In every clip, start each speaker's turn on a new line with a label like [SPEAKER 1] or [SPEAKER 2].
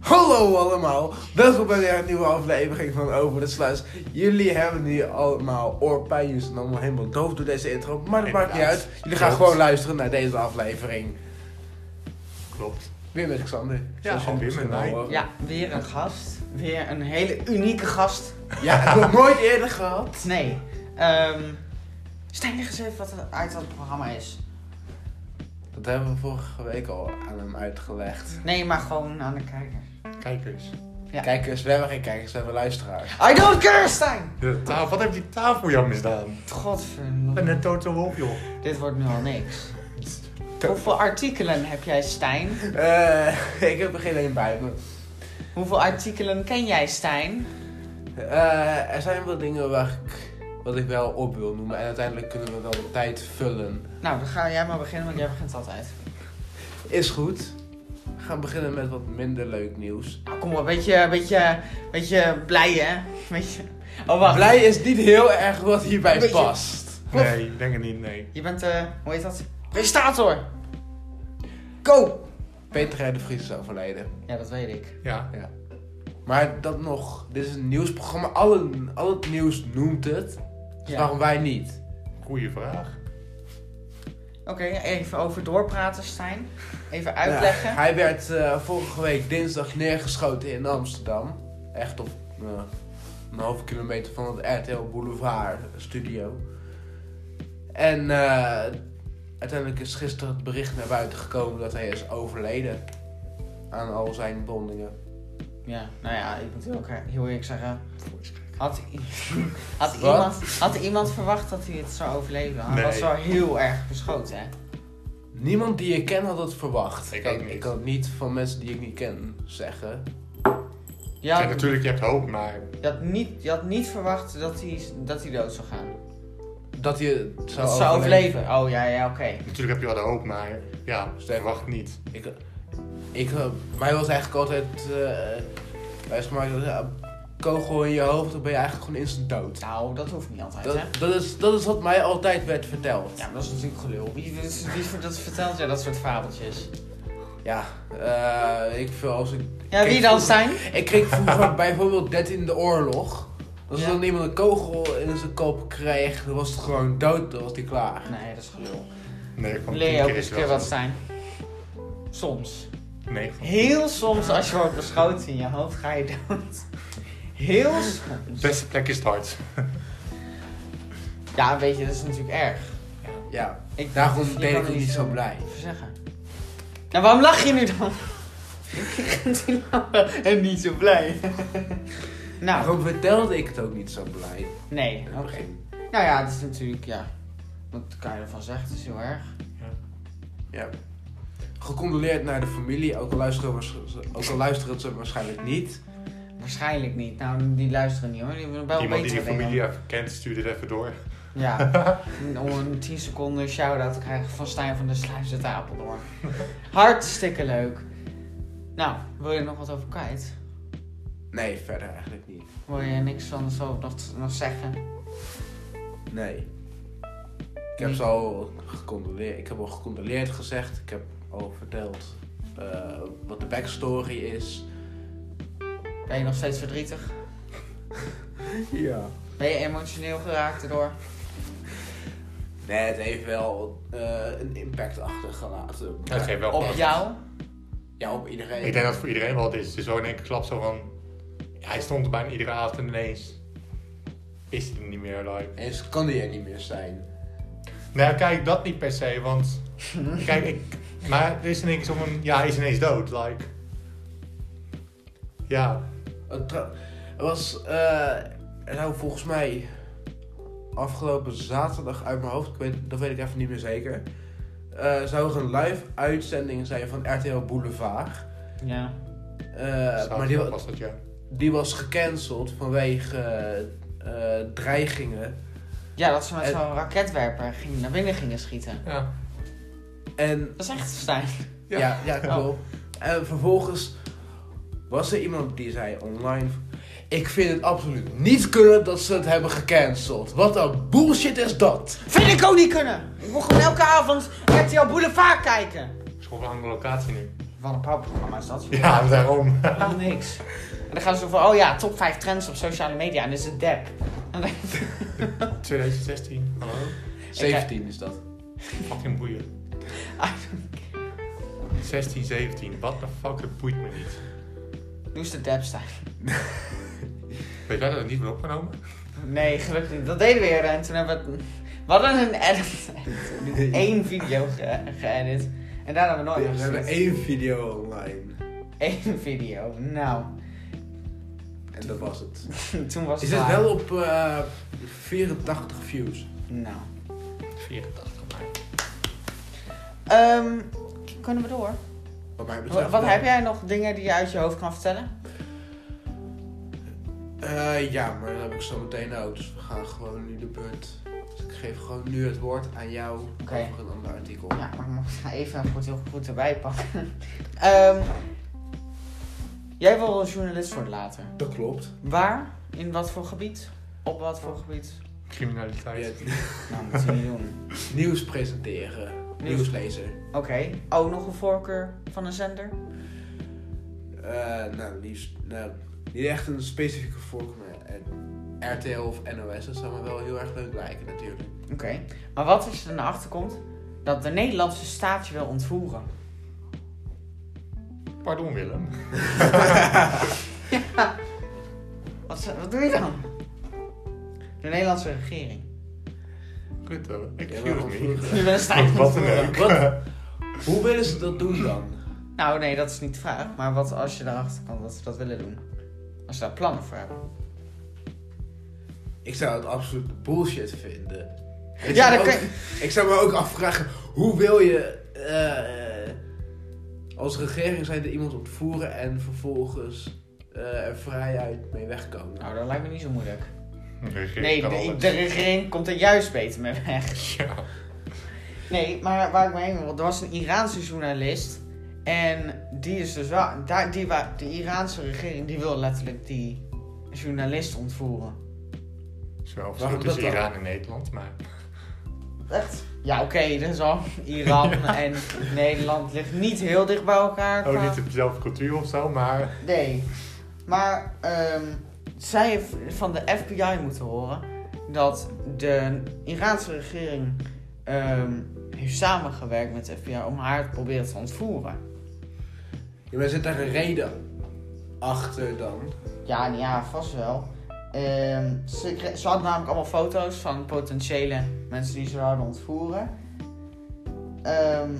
[SPEAKER 1] Hallo allemaal, welkom bij weer een nieuwe aflevering van Over de Sluis. Jullie hebben nu allemaal oorpijnjes en allemaal helemaal doof door deze intro, maar dat maakt niet
[SPEAKER 2] Inderdaad.
[SPEAKER 1] uit. Jullie gaan
[SPEAKER 2] Klopt.
[SPEAKER 1] gewoon luisteren naar deze aflevering.
[SPEAKER 2] Klopt.
[SPEAKER 1] Weer met Xander. zoals
[SPEAKER 2] en
[SPEAKER 1] je
[SPEAKER 2] weer
[SPEAKER 1] misschien
[SPEAKER 2] met mij.
[SPEAKER 1] al hoort.
[SPEAKER 3] Ja, weer een gast. Weer een hele unieke gast.
[SPEAKER 1] Ja, ik heb het nooit eerder gehad.
[SPEAKER 3] Nee. Ehm Stijn, leg eens even wat er uit dat programma is.
[SPEAKER 1] Dat hebben we vorige week al aan hem uitgelegd.
[SPEAKER 3] Nee, maar gewoon aan de kijker.
[SPEAKER 2] Kijkers.
[SPEAKER 3] Ja.
[SPEAKER 1] Kijkers, we hebben geen kijkers, we hebben luisteraars.
[SPEAKER 3] I don't care, Stijn!
[SPEAKER 2] De tafel. Wat heeft die tafel jou misdaan?
[SPEAKER 3] Godverdomme.
[SPEAKER 2] En een Toto Wolf, joh.
[SPEAKER 3] Dit wordt nu al niks. Hoeveel artikelen heb jij, Stijn?
[SPEAKER 1] Eh, ik heb er geen één bij me.
[SPEAKER 3] Hoeveel artikelen ken jij, Stijn?
[SPEAKER 1] Eh, er zijn wel dingen waar ik, wat ik wel op wil noemen en uiteindelijk kunnen we wel de tijd vullen.
[SPEAKER 3] Nou, dan ga jij maar beginnen, want jij begint altijd.
[SPEAKER 1] Is goed. We gaan beginnen met wat minder leuk nieuws.
[SPEAKER 3] Nou, kom op, beetje, beetje, beetje blij, hè? Beetje... Oh, wacht.
[SPEAKER 1] Blij is niet heel erg wat hierbij
[SPEAKER 3] Beetje-
[SPEAKER 1] past.
[SPEAKER 3] Klopt.
[SPEAKER 2] Nee, ik denk het niet, nee.
[SPEAKER 3] Je bent, eh, hoe heet dat? Prestator! Go!
[SPEAKER 1] Peter R. de Vries is overleden.
[SPEAKER 3] Ja, dat weet ik.
[SPEAKER 2] Ja.
[SPEAKER 1] Maar dat nog, dit is een nieuwsprogramma. Alle, al het nieuws noemt het. Dus
[SPEAKER 3] Ja.
[SPEAKER 1] waarom wij niet?
[SPEAKER 2] Goeie vraag.
[SPEAKER 3] Oké, even over doorpraten, Stijn. Even
[SPEAKER 1] Nou,
[SPEAKER 3] uitleggen.
[SPEAKER 1] hij werd eh, vorige week dinsdag neergeschoten in Amsterdam. Echt op eh, een halve kilometer van het RTL Boulevard studio. En eh, uiteindelijk is gisteren het bericht naar buiten gekomen dat hij is overleden. Aan al zijn wondingen.
[SPEAKER 3] Ja, nou ja, ik moet ook eh, heel eerlijk zeggen. Had, i- had,
[SPEAKER 1] Wat?
[SPEAKER 3] iemand, had iemand verwacht dat hij het zou overleven? Hij
[SPEAKER 2] Nee.
[SPEAKER 3] was wel heel erg beschoten, hè?
[SPEAKER 1] Niemand die ik ken had het verwacht.
[SPEAKER 2] Ik
[SPEAKER 1] Kijk,
[SPEAKER 2] ook niet.
[SPEAKER 1] ik kan het niet van mensen die ik niet ken zeggen.
[SPEAKER 3] Je
[SPEAKER 2] Ja,
[SPEAKER 3] had,
[SPEAKER 2] natuurlijk, je hebt hoop, maar...
[SPEAKER 3] je had, niet, je had niet verwacht dat hij, dat hij dood zou gaan.
[SPEAKER 1] Dat hij het zou
[SPEAKER 3] dat hij zou overleven. Oh ja, ja, oké.
[SPEAKER 2] Natuurlijk heb je wel de hoop, maar... Ja,
[SPEAKER 1] Sterk.
[SPEAKER 2] verwacht niet.
[SPEAKER 1] Ik, ik, eh, mij was eigenlijk altijd eh wijsgemaakt dat ja, kogel in je hoofd, dan ben je eigenlijk gewoon instant dood.
[SPEAKER 3] Nou, dat hoeft niet altijd,
[SPEAKER 1] Dat,
[SPEAKER 3] hè?
[SPEAKER 1] dat, is, dat is wat mij altijd werd verteld.
[SPEAKER 3] Ja, maar dat is natuurlijk gelul. Wie, wie, wie dat vertelt jij dat soort fabeltjes?
[SPEAKER 1] Ja, eh, ik veel als ik...
[SPEAKER 3] Ja,
[SPEAKER 1] Kijk,
[SPEAKER 3] wie dan,
[SPEAKER 1] vroeger-
[SPEAKER 3] Stijn?
[SPEAKER 1] Ik kreeg vroeger bijvoorbeeld 13 de oorlog. Als
[SPEAKER 3] Ja.
[SPEAKER 1] dan iemand een kogel in zijn kop kreeg, dan was het gewoon dood, dan was hij klaar.
[SPEAKER 3] Nee, dat is gelul.
[SPEAKER 2] Nee, van
[SPEAKER 3] Leer
[SPEAKER 2] tien
[SPEAKER 3] je ook
[SPEAKER 2] keer
[SPEAKER 3] eens
[SPEAKER 2] is
[SPEAKER 3] een keer
[SPEAKER 2] wel
[SPEAKER 3] wat zijn. Soms.
[SPEAKER 2] zo. Nee, van-
[SPEAKER 3] Heel soms als je wordt beschoten in je hoofd ga je dood. Heel soms.
[SPEAKER 2] Beste plek is het hart.
[SPEAKER 3] Ja, weet je, dat is natuurlijk erg.
[SPEAKER 1] Ja,
[SPEAKER 3] Ik,
[SPEAKER 1] daarom
[SPEAKER 3] je kan
[SPEAKER 1] deed
[SPEAKER 3] er
[SPEAKER 1] ik ook niet zo blij.
[SPEAKER 3] over zeggen. Nou, waarom lach je nu dan? Ik ben die lachen en niet zo blij. nou,
[SPEAKER 1] Daarom vertelde ik het ook niet zo blij. in
[SPEAKER 3] nee,
[SPEAKER 1] het
[SPEAKER 3] oké.
[SPEAKER 1] begin.
[SPEAKER 3] Nou ja, het is natuurlijk, ja. Wat kan je ervan zeggen? Het is heel erg.
[SPEAKER 1] Ja. Gecondoleerd naar de familie, ook al luisteren, waars- ook al luisteren ze waarschijnlijk niet.
[SPEAKER 3] Waarschijnlijk niet. Nou, die luisteren niet hoor. Die hebben wel
[SPEAKER 2] Iemand die
[SPEAKER 3] betere
[SPEAKER 2] die
[SPEAKER 3] dingen.
[SPEAKER 2] familie even kent, stuur dit even door.
[SPEAKER 3] Ja, om een 10 seconden shout-out te krijgen van Stijn van der Sluis uit Apeldoorn. Hartstikke leuk. Nou, wil je er nog wat over kwijt?
[SPEAKER 1] Nee, verder eigenlijk niet.
[SPEAKER 3] Wil je niks anders over nog, nog zeggen?
[SPEAKER 1] Nee. Ik heb
[SPEAKER 3] Nee.
[SPEAKER 1] ze al gecondoleerd. Ik heb al gecondoleerd gezegd. Ik heb al verteld eh, wat de backstory is.
[SPEAKER 3] Ben je nog steeds verdrietig?
[SPEAKER 1] Ja.
[SPEAKER 3] Ben je emotioneel geraakt erdoor?
[SPEAKER 1] Nee, het heeft wel eh, een impact achtergelaten.
[SPEAKER 2] Dat geeft wel
[SPEAKER 3] Op
[SPEAKER 2] pas.
[SPEAKER 3] jou?
[SPEAKER 1] Ja, op iedereen.
[SPEAKER 2] Ik denk dat het voor iedereen wel wat is. Het is zo in één keer klap zo van... Hij stond er bijna iedere avond en ineens... Is hij er niet meer, like...
[SPEAKER 1] Eens kan die er niet meer zijn.
[SPEAKER 2] Nou, kijk, dat niet per se, want... Kijk, ik... Maar er is ineens om een... Ja, hij is ineens dood, like... Ja,
[SPEAKER 1] Het tra- er was, eh, er zou volgens mij afgelopen zaterdag uit mijn hoofd, ik weet, dat weet ik even niet meer zeker. eh, zou er een live uitzending zijn van RTL Boulevard.
[SPEAKER 3] Ja.
[SPEAKER 1] Eh, maar die,
[SPEAKER 2] zaterdag
[SPEAKER 1] wa-
[SPEAKER 2] was dat, ja.
[SPEAKER 1] die was gecanceld vanwege eh, eh, dreigingen.
[SPEAKER 3] Ja, dat ze met
[SPEAKER 1] Eh.
[SPEAKER 3] zo'n raketwerper gingen, naar binnen gingen schieten.
[SPEAKER 2] Ja.
[SPEAKER 1] En
[SPEAKER 3] Dat is echt Stijn.
[SPEAKER 1] ja,
[SPEAKER 2] Ja.
[SPEAKER 1] ja, klopt. En vervolgens was er iemand die zei online... Ik vind het absoluut niet kunnen dat ze het hebben gecanceld. Wat een bullshit is dat?
[SPEAKER 3] Vind ik ook niet kunnen! Ik moet gewoon elke avond RTL Boulevard kijken!
[SPEAKER 2] School van andere locatie nu.
[SPEAKER 3] Wat een pauwprogramma is dat? joh.
[SPEAKER 2] Ja, daarom.
[SPEAKER 3] Helemaal niks. En dan gaan ze zo van, oh ja, top 5 trends op sociale media. En dan is het dep. En dan-
[SPEAKER 2] 2016, hallo.
[SPEAKER 1] 17 is dat.
[SPEAKER 2] Fucking boeien.
[SPEAKER 3] Ah,
[SPEAKER 2] 16, 17, what the fuck, het boeit me niet.
[SPEAKER 3] Nu is de dep staan.
[SPEAKER 2] Weet jij dat het niet wordt opgenomen?
[SPEAKER 3] Nee, gelukkig niet. Dat deden we eerder. En toen hebben we... het- We hadden een edit. edit. Eén video ge- geëdit. en daarna hebben we nooit
[SPEAKER 1] we hebben
[SPEAKER 3] geëdit.
[SPEAKER 1] één video online.
[SPEAKER 3] Eén video. Nou,
[SPEAKER 1] En dat was het.
[SPEAKER 3] toen was
[SPEAKER 1] Is
[SPEAKER 3] het
[SPEAKER 1] het
[SPEAKER 3] klaar.
[SPEAKER 1] wel op eh 84 views?
[SPEAKER 3] Nou.
[SPEAKER 2] 84, maar.
[SPEAKER 3] Ehm, kunnen we door?
[SPEAKER 1] Wat mij
[SPEAKER 3] Wat,
[SPEAKER 1] betreft.
[SPEAKER 3] wat
[SPEAKER 1] nee.
[SPEAKER 3] heb jij nog dingen die je uit je hoofd kan vertellen?
[SPEAKER 1] Eh, ja, maar dan heb ik zo meteen ook. Dus we gaan gewoon nu de beurt. Dus ik geef gewoon nu het woord aan jou
[SPEAKER 3] Oké.
[SPEAKER 1] over een ander artikel.
[SPEAKER 3] Ja, maar ik moet nou even goed, heel goed erbij pakken. Ehm, jij wil journalist worden later.
[SPEAKER 1] Dat klopt.
[SPEAKER 3] Waar? In wat voor gebied? Op wat voor gebied?
[SPEAKER 1] Je
[SPEAKER 2] Criminaliteit.
[SPEAKER 1] hebt
[SPEAKER 3] Nou, moet je niet doen.
[SPEAKER 1] nieuws presenteren. Nieuwslezer.
[SPEAKER 3] Oké. Ook nog een voorkeur van een zender?
[SPEAKER 1] Eh, nou, liefst. Nou, niet echt een specifieke voorkeur. maar, eh, RTL of NOS, dat zou me wel heel erg leuk lijken, natuurlijk.
[SPEAKER 3] Oké. Maar wat als je ernaar achterkomt dat de Nederlandse staat je wil ontvoeren?
[SPEAKER 2] Pardon Willem.
[SPEAKER 3] Wat, wat doe je dan? De Nederlandse regering.
[SPEAKER 2] Kut hoor,
[SPEAKER 1] Ja,
[SPEAKER 2] excuse
[SPEAKER 1] maar
[SPEAKER 2] me.
[SPEAKER 1] ontvoeren.
[SPEAKER 3] Je bent een staat
[SPEAKER 2] Wat een
[SPEAKER 3] ontvoeren.
[SPEAKER 2] leuk.
[SPEAKER 1] Wat? Hoe willen ze dat doen dan?
[SPEAKER 3] Nou, nee, dat is niet de vraag. Maar wat als je erachter komt dat ze dat willen doen? Als ze daar plannen voor hebben.
[SPEAKER 1] Ik zou het absoluut bullshit vinden. Ik
[SPEAKER 3] Ja,
[SPEAKER 1] zou
[SPEAKER 3] dat
[SPEAKER 1] ook-
[SPEAKER 3] kan-
[SPEAKER 1] Ik zou me ook afvragen, hoe wil je eh, als regering zijn er iemand ontvoeren en vervolgens eh, er vrijheid mee wegkomen?
[SPEAKER 3] Nou, dat lijkt me niet zo moeilijk.
[SPEAKER 2] Regering
[SPEAKER 3] Nee,
[SPEAKER 2] kan
[SPEAKER 3] de,
[SPEAKER 2] alles.
[SPEAKER 3] de regering komt er juist beter mee weg.
[SPEAKER 2] Ja.
[SPEAKER 3] Nee, maar waar ik mee heen wil, er was een Iraanse journalist. En die is dus wel. Daar, die, wa- de Iraanse regering die wil letterlijk die journalist ontvoeren.
[SPEAKER 2] Het is wel
[SPEAKER 1] Waarom
[SPEAKER 2] verschil tussen
[SPEAKER 1] dat dan?
[SPEAKER 2] Iran en Nederland, maar...
[SPEAKER 3] Echt? Ja, oké, dat is al. Iran en Nederland ligt niet heel dicht bij elkaar.
[SPEAKER 2] Ook
[SPEAKER 3] qua-
[SPEAKER 2] Oh, niet dezelfde cultuur of zo, maar...
[SPEAKER 3] Nee. Maar ehm, zij heeft van de FBI moeten horen dat de Iraanse regering ehm, heeft samengewerkt met de FBI om haar te proberen te ontvoeren.
[SPEAKER 1] Ja, maar zit daar een reden achter dan?
[SPEAKER 3] Ja, en ja, vast wel. Ehm, ze, kre- ze had namelijk allemaal foto's van potentiële mensen die ze zouden ontvoeren. Ehm,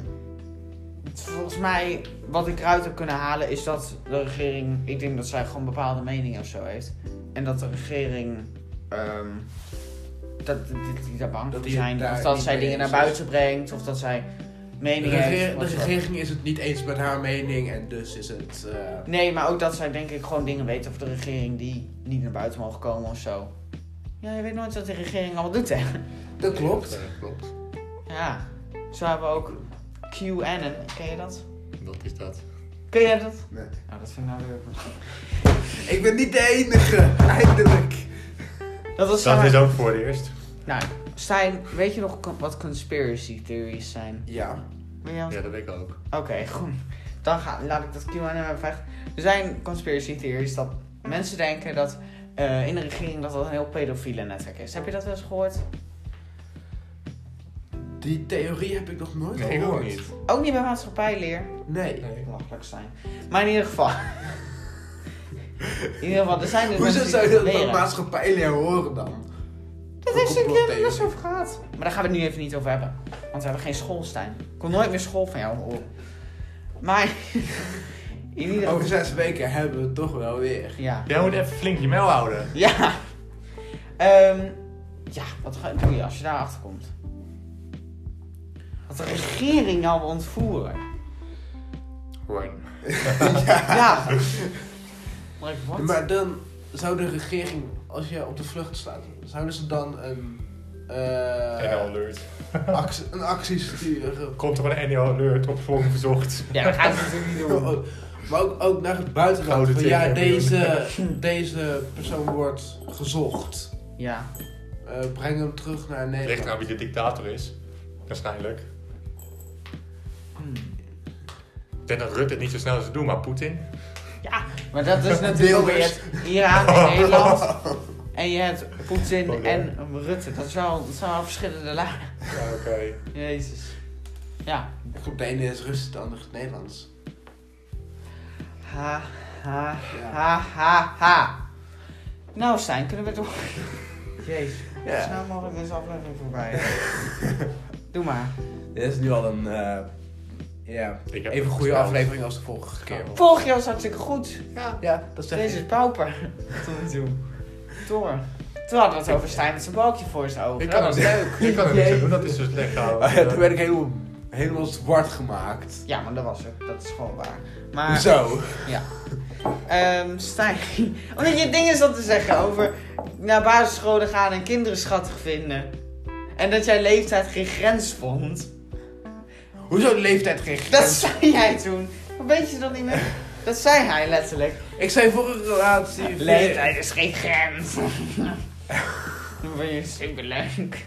[SPEAKER 3] volgens mij, wat ik eruit heb kunnen halen, is dat de regering. Ik denk dat zij gewoon bepaalde meningen of zo heeft. En dat de regering. ehm, dat dat- dat die daar bang
[SPEAKER 1] Dat
[SPEAKER 3] voor
[SPEAKER 1] die
[SPEAKER 3] zijn.
[SPEAKER 1] het daar
[SPEAKER 3] Of dat
[SPEAKER 1] niet
[SPEAKER 3] zij
[SPEAKER 1] mee
[SPEAKER 3] dingen naar
[SPEAKER 1] eens is.
[SPEAKER 3] buiten brengt. Of dat zij
[SPEAKER 1] De,
[SPEAKER 3] meningen
[SPEAKER 1] regeer-
[SPEAKER 3] heeft.
[SPEAKER 1] de
[SPEAKER 3] wat dan ook.
[SPEAKER 1] regering is het niet eens met haar mening en dus is het... eh,
[SPEAKER 3] Nee, maar ook dat zij denk ik gewoon dingen weten over de regering die niet naar buiten mogen komen of zo. Ja, je weet nooit wat de regering allemaal doet, hè?
[SPEAKER 1] dat klopt.
[SPEAKER 2] eh, klopt.
[SPEAKER 3] Ja, zo hebben we ook QAnon. Ken je dat?
[SPEAKER 2] Dat is dat.
[SPEAKER 3] Ken jij dat?
[SPEAKER 1] Nee.
[SPEAKER 3] Nou, dat vind ik nou weer...
[SPEAKER 1] Ik ben niet de enige, eindelijk.
[SPEAKER 3] Dat dus was
[SPEAKER 2] Dat
[SPEAKER 3] Stijn.
[SPEAKER 2] is ook voor het eerst.
[SPEAKER 3] Nou, Stijn, weet je nog con- wat conspiracy theories zijn?
[SPEAKER 1] Ja,
[SPEAKER 3] Weet jij wat-
[SPEAKER 2] Ja, dat weet ik ook.
[SPEAKER 3] Oké, goed. Dan ga, laat ik dat QAnon even weg. Er zijn conspiracy theories dat mensen denken dat eh, in de regering dat dat een heel pedofiele netwerk is. Heb je dat wel eens gehoord?
[SPEAKER 1] die theorie heb ik nog nooit
[SPEAKER 2] Nee, ik ook
[SPEAKER 1] gehoord.
[SPEAKER 2] niet.
[SPEAKER 3] Ook niet bij maatschappijleer.
[SPEAKER 1] Nee.
[SPEAKER 2] Nee.
[SPEAKER 3] Belachelijk zijn. Maar in ieder geval. in ieder geval, er zijn dus
[SPEAKER 1] Hoezo
[SPEAKER 3] mensen die
[SPEAKER 1] zou je dat bij
[SPEAKER 3] leren.
[SPEAKER 1] maatschappijleer horen dan?
[SPEAKER 3] Dat heeft een keer
[SPEAKER 1] complottheorie?
[SPEAKER 3] best over gehad. Maar daar gaan we het nu even niet over hebben. Want we hebben geen school, Stijn. Ik kon nooit meer school van jou horen. Maar in ieder geval...
[SPEAKER 1] Over zes weken hebben we het toch wel weer.
[SPEAKER 3] Ja.
[SPEAKER 2] Jij moet even flink je mel houden.
[SPEAKER 3] Ja. Ehm, ja, wat ga, doe je als je daar achter komt? Dat de regering jou wil ontvoeren.
[SPEAKER 2] Gewoon.
[SPEAKER 3] Ja. Maar ik, wat?
[SPEAKER 1] Maar dan zou de regering, als je op de vlucht staat, zouden ze dan een, eh,
[SPEAKER 2] NL alert.
[SPEAKER 1] actie, een actie sturen?
[SPEAKER 2] Komt er een NL alert op vorm verzocht.
[SPEAKER 3] Ja, dat gaat het natuurlijk niet
[SPEAKER 1] Oh,
[SPEAKER 3] doen.
[SPEAKER 1] Maar ook, ook naar het buitenland.
[SPEAKER 2] Gouden
[SPEAKER 1] Van, ja,
[SPEAKER 2] 2 miljoen.
[SPEAKER 1] deze, deze persoon wordt gezocht.
[SPEAKER 3] Ja.
[SPEAKER 1] Eh, breng hem terug naar
[SPEAKER 2] Het ligt aan
[SPEAKER 1] Nederland.
[SPEAKER 2] wie de dictator is. Waarschijnlijk.
[SPEAKER 3] Hmm.
[SPEAKER 2] Ik denk dat Rutte het niet zo snel zou doen, maar Poetin.
[SPEAKER 3] Maar dat is natuurlijk weer
[SPEAKER 1] Wilders.
[SPEAKER 3] het Iran en Nederland. En je hebt Poetin en Rutte. Dat, is wel, dat zijn wel verschillende lagen.
[SPEAKER 2] Ja, oké.
[SPEAKER 3] Jezus. Ja.
[SPEAKER 1] Goed, de ene is Russisch, de andere is Nederlands.
[SPEAKER 3] Ha, ha, ha, ha, ha. Nou, Stijn, kunnen we door? Jezus.
[SPEAKER 1] Ja.
[SPEAKER 3] Zo snel mogelijk deze aflevering voorbij. Doe maar.
[SPEAKER 1] Dit is nu al een eh, ja,
[SPEAKER 2] Ik heb
[SPEAKER 1] even
[SPEAKER 2] het
[SPEAKER 1] goede
[SPEAKER 2] gespeeld.
[SPEAKER 1] aflevering als de vorige keer.
[SPEAKER 2] Ja.
[SPEAKER 3] Vorig jaar was hartstikke goed.
[SPEAKER 1] Ja, dat zeg
[SPEAKER 3] Deze is
[SPEAKER 1] ik.
[SPEAKER 3] pauper. Tot nu toe. Door. Toen hadden we het over Stijn met zijn balkje voor zijn ogen.
[SPEAKER 2] Ik
[SPEAKER 3] Dat
[SPEAKER 2] kan,
[SPEAKER 3] was
[SPEAKER 2] het
[SPEAKER 3] leuk.
[SPEAKER 2] niet, ik kan het niet zo doen, dat is dus slecht
[SPEAKER 1] Oh ja, toen
[SPEAKER 2] houden.
[SPEAKER 1] werd ik helemaal, helemaal zwart gemaakt.
[SPEAKER 3] Ja, maar dat was er. Dat is gewoon waar. Maar...
[SPEAKER 1] Zo.
[SPEAKER 3] Ehm, Stijn. Omdat je dingen zat te zeggen over naar basisscholen gaan en kinderen schattig vinden. En dat jij leeftijd geen grens vond.
[SPEAKER 1] Hoezo de leeftijd geen grens?
[SPEAKER 3] Dat zei jij toen. Hoe weet je dat niet meer? Dat zei hij letterlijk.
[SPEAKER 1] Ik zei vorige relatie...
[SPEAKER 3] Leeftijd is geen grens. Dan ben je superleuk.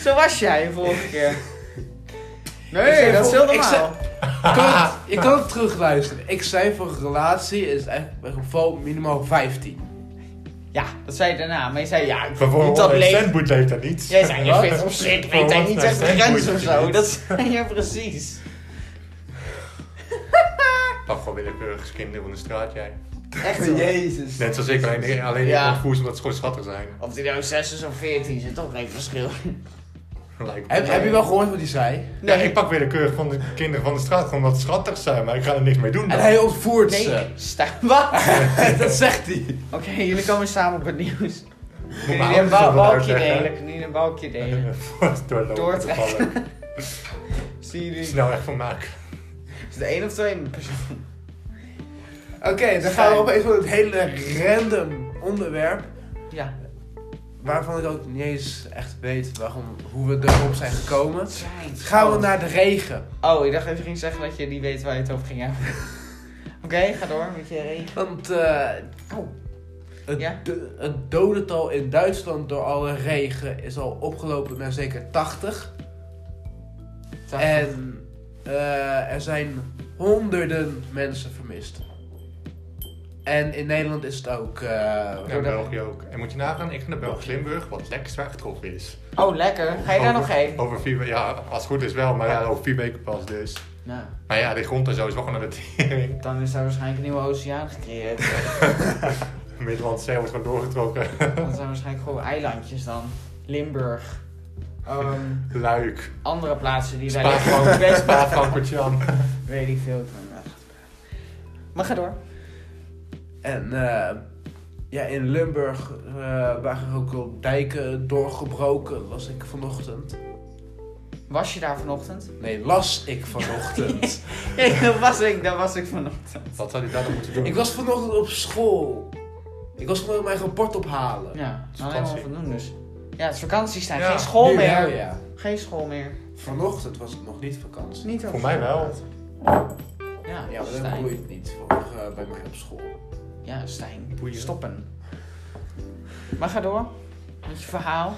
[SPEAKER 3] Zo was jij de vorige keer.
[SPEAKER 1] Ik
[SPEAKER 3] Nee,
[SPEAKER 1] zei
[SPEAKER 3] dat is heel
[SPEAKER 1] vorige- ik
[SPEAKER 3] normaal.
[SPEAKER 1] Je kan het, je kan het terugluisteren. Ik zei voor een relatie is eigenlijk bij geval minimaal 15.
[SPEAKER 3] Ja, dat zei je daarna. Maar je zei, ja, ik vind niet
[SPEAKER 2] Vervolgens
[SPEAKER 3] dat
[SPEAKER 2] een
[SPEAKER 3] leeftijd...
[SPEAKER 2] centboet leeft dat niet.
[SPEAKER 3] Jij zei, je
[SPEAKER 2] Wat?
[SPEAKER 3] vindt op zich
[SPEAKER 2] Voor
[SPEAKER 3] weet hij
[SPEAKER 2] wat
[SPEAKER 3] niet
[SPEAKER 2] een
[SPEAKER 3] echt de grens
[SPEAKER 2] centboet
[SPEAKER 3] of
[SPEAKER 2] je
[SPEAKER 3] zo.
[SPEAKER 2] niet.
[SPEAKER 3] Dat zei je precies.
[SPEAKER 2] Pak gewoon willekeurige kinderen van de straat, jij.
[SPEAKER 3] Echt hoor.
[SPEAKER 1] Jezus.
[SPEAKER 2] Net zoals ik, alleen, alleen
[SPEAKER 3] Ja.
[SPEAKER 2] ik ontvoer ze omdat ze gewoon schattig zijn.
[SPEAKER 3] Of die nou 6 is of 14 is, toch geen verschil.
[SPEAKER 2] Lijkt me.
[SPEAKER 1] Heb, heb je wel gehoord wat hij zei?
[SPEAKER 2] Ja, ik pak willekeurig van de kinderen van de straat gewoon omdat ze schattig zijn, maar ik ga er niks mee doen.
[SPEAKER 1] En
[SPEAKER 2] dan.
[SPEAKER 1] hij ontvoert
[SPEAKER 3] Nee,
[SPEAKER 1] ze.
[SPEAKER 3] sta. Wat?
[SPEAKER 1] dat zegt hij.
[SPEAKER 3] Oké, jullie komen samen op het nieuws.
[SPEAKER 2] Moet mijn
[SPEAKER 3] Jullie een
[SPEAKER 2] ouders
[SPEAKER 3] ba-
[SPEAKER 2] dat wel
[SPEAKER 3] balkje
[SPEAKER 2] uitleggen.
[SPEAKER 3] delen, kunnen jullie een balkje delen.
[SPEAKER 2] Voor doorlopen
[SPEAKER 3] Doortrekken.
[SPEAKER 2] te vallen.
[SPEAKER 3] Zie jullie,
[SPEAKER 2] Snel echt van maken.
[SPEAKER 3] is het één of twee persoon?
[SPEAKER 1] Oké, dan gaan we opeens van het hele random onderwerp.
[SPEAKER 3] Ja.
[SPEAKER 1] Waarvan ik ook niet eens echt weet waarom, hoe we erop zijn gekomen.
[SPEAKER 3] Zijn.
[SPEAKER 1] Gaan we naar de regen.
[SPEAKER 3] Oh, ik dacht even ging zeggen dat je niet weet waar je het over ging hebben. Oké, ga door met je regen.
[SPEAKER 1] Want eh,
[SPEAKER 3] Oh.
[SPEAKER 1] het,
[SPEAKER 3] Ja?
[SPEAKER 1] do- het dodental in Duitsland door alle regen is al opgelopen naar zeker 80. En eh, er zijn honderden mensen vermist. En in Nederland is het ook. eh,
[SPEAKER 2] Ja, in België ook. En moet je nagaan, ik ga naar Belgisch Limburg, wat lekker zwaar getroffen is.
[SPEAKER 3] Oh, lekker. Ga je daar
[SPEAKER 2] Over-
[SPEAKER 3] nog heen?
[SPEAKER 2] Over vier weken, ja, als het goed is wel, maar ja, over vier weken pas dus.
[SPEAKER 3] Nou,
[SPEAKER 2] Maar ja, die grond en zo is wel gewoon naar de tering.
[SPEAKER 3] dan is daar waarschijnlijk een nieuwe oceaan gecreëerd.
[SPEAKER 2] Middellandse Zee wordt gewoon doorgetrokken.
[SPEAKER 3] Dat zijn waarschijnlijk gewoon eilandjes dan. Limburg. Ehm,
[SPEAKER 2] Luik.
[SPEAKER 3] andere plaatsen die wij
[SPEAKER 2] Spa
[SPEAKER 3] gewoon best
[SPEAKER 2] Spa
[SPEAKER 3] wel
[SPEAKER 2] van Kortjan.
[SPEAKER 3] Weet ik veel van. eh. Maar ga door.
[SPEAKER 1] En eh, ja, in Limburg eh, waren ook al dijken doorgebroken, las ik vanochtend.
[SPEAKER 3] Was je daar vanochtend?
[SPEAKER 1] Nee, las ik vanochtend.
[SPEAKER 3] dat was ik, dat was ik vanochtend.
[SPEAKER 2] Wat zou hij daar dan moeten doen?
[SPEAKER 1] ik was vanochtend op school. Ik was gewoon mijn rapport ophalen.
[SPEAKER 3] Ja,
[SPEAKER 2] is
[SPEAKER 3] alleen maar
[SPEAKER 2] vakantie.
[SPEAKER 3] van doen dus. Ja, het is vakantie zijn.
[SPEAKER 2] Ja,
[SPEAKER 3] Geen school
[SPEAKER 1] Nu
[SPEAKER 3] meer.
[SPEAKER 1] wel, ja.
[SPEAKER 3] Geen school meer.
[SPEAKER 1] Vanochtend was het nog niet vakantie.
[SPEAKER 3] Niet
[SPEAKER 2] Voor mij wel.
[SPEAKER 3] Ja,
[SPEAKER 1] Ja, maar dat
[SPEAKER 3] Stijn.
[SPEAKER 1] boeit niet voor, eh, bij mij op school.
[SPEAKER 3] Ja, Stijn.
[SPEAKER 2] Boeien.
[SPEAKER 3] Stoppen. Maar ga door. Met je verhaal.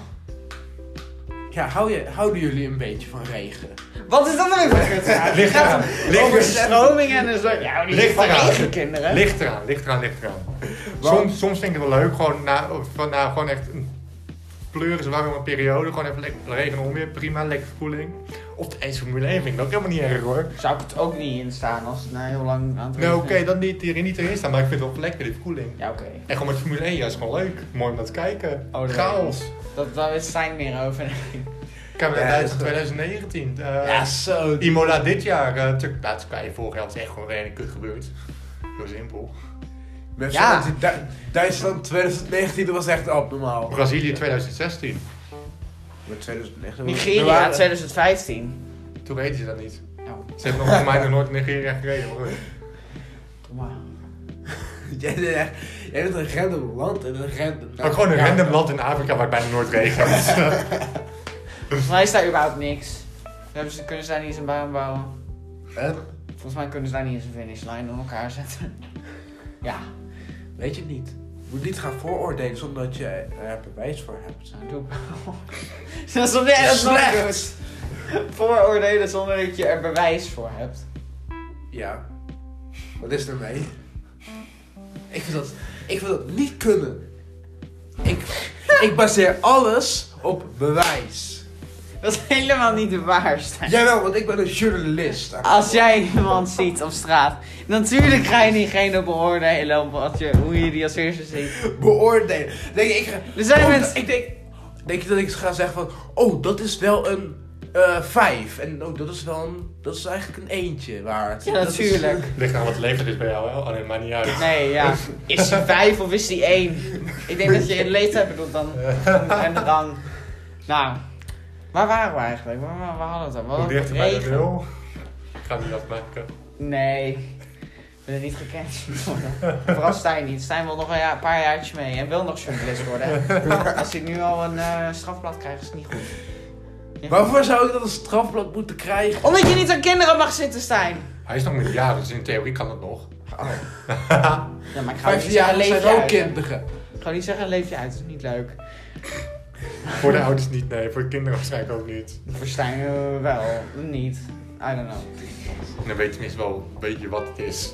[SPEAKER 1] Ja, hou je, houden jullie een beetje van regen?
[SPEAKER 3] Wat is dat nou weer voor kut? Het
[SPEAKER 2] Ligt
[SPEAKER 3] gaat
[SPEAKER 2] eraan.
[SPEAKER 3] om
[SPEAKER 2] Ligt eraan.
[SPEAKER 3] overstroming en een soort... Ja, die
[SPEAKER 2] Ligt
[SPEAKER 3] van
[SPEAKER 2] eraan.
[SPEAKER 3] regenkinderen.
[SPEAKER 2] Ligt eraan, ligt eraan, ligt eraan.
[SPEAKER 1] Want-
[SPEAKER 2] Soms, soms vind ik het wel leuk, gewoon na, van, na gewoon echt een pleuris warme periode. Gewoon even lekker regen en onweer, prima, lekker verkoeling. Of de eens Formule 1 vind ik dat ook helemaal niet erg hoor.
[SPEAKER 3] Zou ik het ook niet instaan als het na heel lang aan het
[SPEAKER 2] Nou
[SPEAKER 3] regenen
[SPEAKER 2] oké, dat niet, hier niet erin staan, maar ik vind het wel lekker die verkoeling.
[SPEAKER 3] Ja, oké.
[SPEAKER 2] En gewoon met Formule 1, ja, is gewoon leuk. Mooi om naar te kijken.
[SPEAKER 3] Oh, nee.
[SPEAKER 2] Chaos.
[SPEAKER 3] Dat, daar is Stijn meer over.
[SPEAKER 2] Ik heb
[SPEAKER 1] Ja,
[SPEAKER 2] het uit
[SPEAKER 1] dat-
[SPEAKER 2] 2019. eh,
[SPEAKER 1] ja, zo.
[SPEAKER 2] Imola dit jaar, eh natuurlijk, nou, Turkije vorig jaar was echt gewoon redelijk kut gebeurd. Heel simpel.
[SPEAKER 1] Met
[SPEAKER 3] Ja.
[SPEAKER 1] zo'n- Du- Duitsland 2019, dat was echt abnormaal.
[SPEAKER 2] Brazilië 2016,
[SPEAKER 1] Met 2019. Er
[SPEAKER 3] Nigeria
[SPEAKER 1] waren-
[SPEAKER 3] 2015.
[SPEAKER 2] toen weten ze dat niet.
[SPEAKER 3] Nou,
[SPEAKER 2] Ze hebben nog voor mij nog nooit in Nigeria gereden. maar goed.
[SPEAKER 3] kom maar.
[SPEAKER 1] Jij bent echt- jij bent een random land en een random...
[SPEAKER 2] Ook gewoon een
[SPEAKER 1] Nou, Ja.
[SPEAKER 2] random land in Afrika waar het bijna nooit regent.
[SPEAKER 3] Volgens mij is daar überhaupt niks. Dan hebben ze, kunnen ze daar niet eens een baan bouwen.
[SPEAKER 1] Hè?
[SPEAKER 3] Volgens mij kunnen ze daar niet eens een finishlijn door elkaar zetten. Ja,
[SPEAKER 1] Weet je het niet. Je moet niet gaan vooroordelen zonder dat je er bewijs voor hebt.
[SPEAKER 3] nou doe ik wel. Dat is omdat je dat nooit doet. Vooroordelen zonder dat je er bewijs voor hebt.
[SPEAKER 1] Ja. Wat is er mee? Ik vind dat, ik vind dat niet kunnen. Ik, ik baseer alles op bewijs.
[SPEAKER 3] Dat is helemaal niet de waarste.
[SPEAKER 1] Jawel, want ik ben een journalist.
[SPEAKER 3] Als jij iemand ziet op straat, natuurlijk ga je diegene beoordelen op wat je, hoe je die als eerste ziet.
[SPEAKER 1] Beoordelen. Denk ik, ik ga-
[SPEAKER 3] Er zijn
[SPEAKER 1] oh,
[SPEAKER 3] mensen-
[SPEAKER 1] Ik denk, denk je dat ik ga zeggen van... Oh, dat is wel een eh 5. En oh, dat is wel een... Dat is eigenlijk een eentje waard.
[SPEAKER 3] Ja,
[SPEAKER 1] Dat is-
[SPEAKER 3] natuurlijk.
[SPEAKER 2] Ligt aan wat leeftijd is bij jou, hè? Oh nee, maakt niet uit.
[SPEAKER 3] Nee, ja. Is die vijf of is die één? Ik denk dat je in leeftijd bedoelt dan. En de rang. Nou, waar waren we eigenlijk? Waar, waar, waar hadden we het over?
[SPEAKER 2] Hoe
[SPEAKER 3] Wat
[SPEAKER 2] dichter bij de
[SPEAKER 3] regen?
[SPEAKER 2] nul. Ik ga niet afmaken.
[SPEAKER 3] Nee, ik ben er niet gekend worden. Vooral Stijn niet. Stijn wil nog een jaar- paar jaartjes mee en wil nog journalist worden. Als hij nu al een eh, strafblad krijgt, is het niet goed.
[SPEAKER 1] Waarvoor zou ik dat als strafblad moeten krijgen?
[SPEAKER 3] Omdat je niet aan kinderen mag zitten, Stijn!
[SPEAKER 2] Hij is nog een jaar, dus in theorie kan het nog.
[SPEAKER 3] Ja, maar ik ga niet
[SPEAKER 1] 15
[SPEAKER 3] zeggen,
[SPEAKER 1] jaar
[SPEAKER 3] leef
[SPEAKER 1] zijn
[SPEAKER 3] je
[SPEAKER 1] ook
[SPEAKER 3] uit.
[SPEAKER 1] kinderen.
[SPEAKER 3] Ik ga niet zeggen, leef je uit. Dat is niet leuk.
[SPEAKER 2] Voor de ouders niet, nee. Voor de kinderen waarschijnlijk ook niet.
[SPEAKER 3] Voor Stijn eh, wel. Niet. I don't know.
[SPEAKER 2] Dan weet je tenminste wel een beetje wat het is.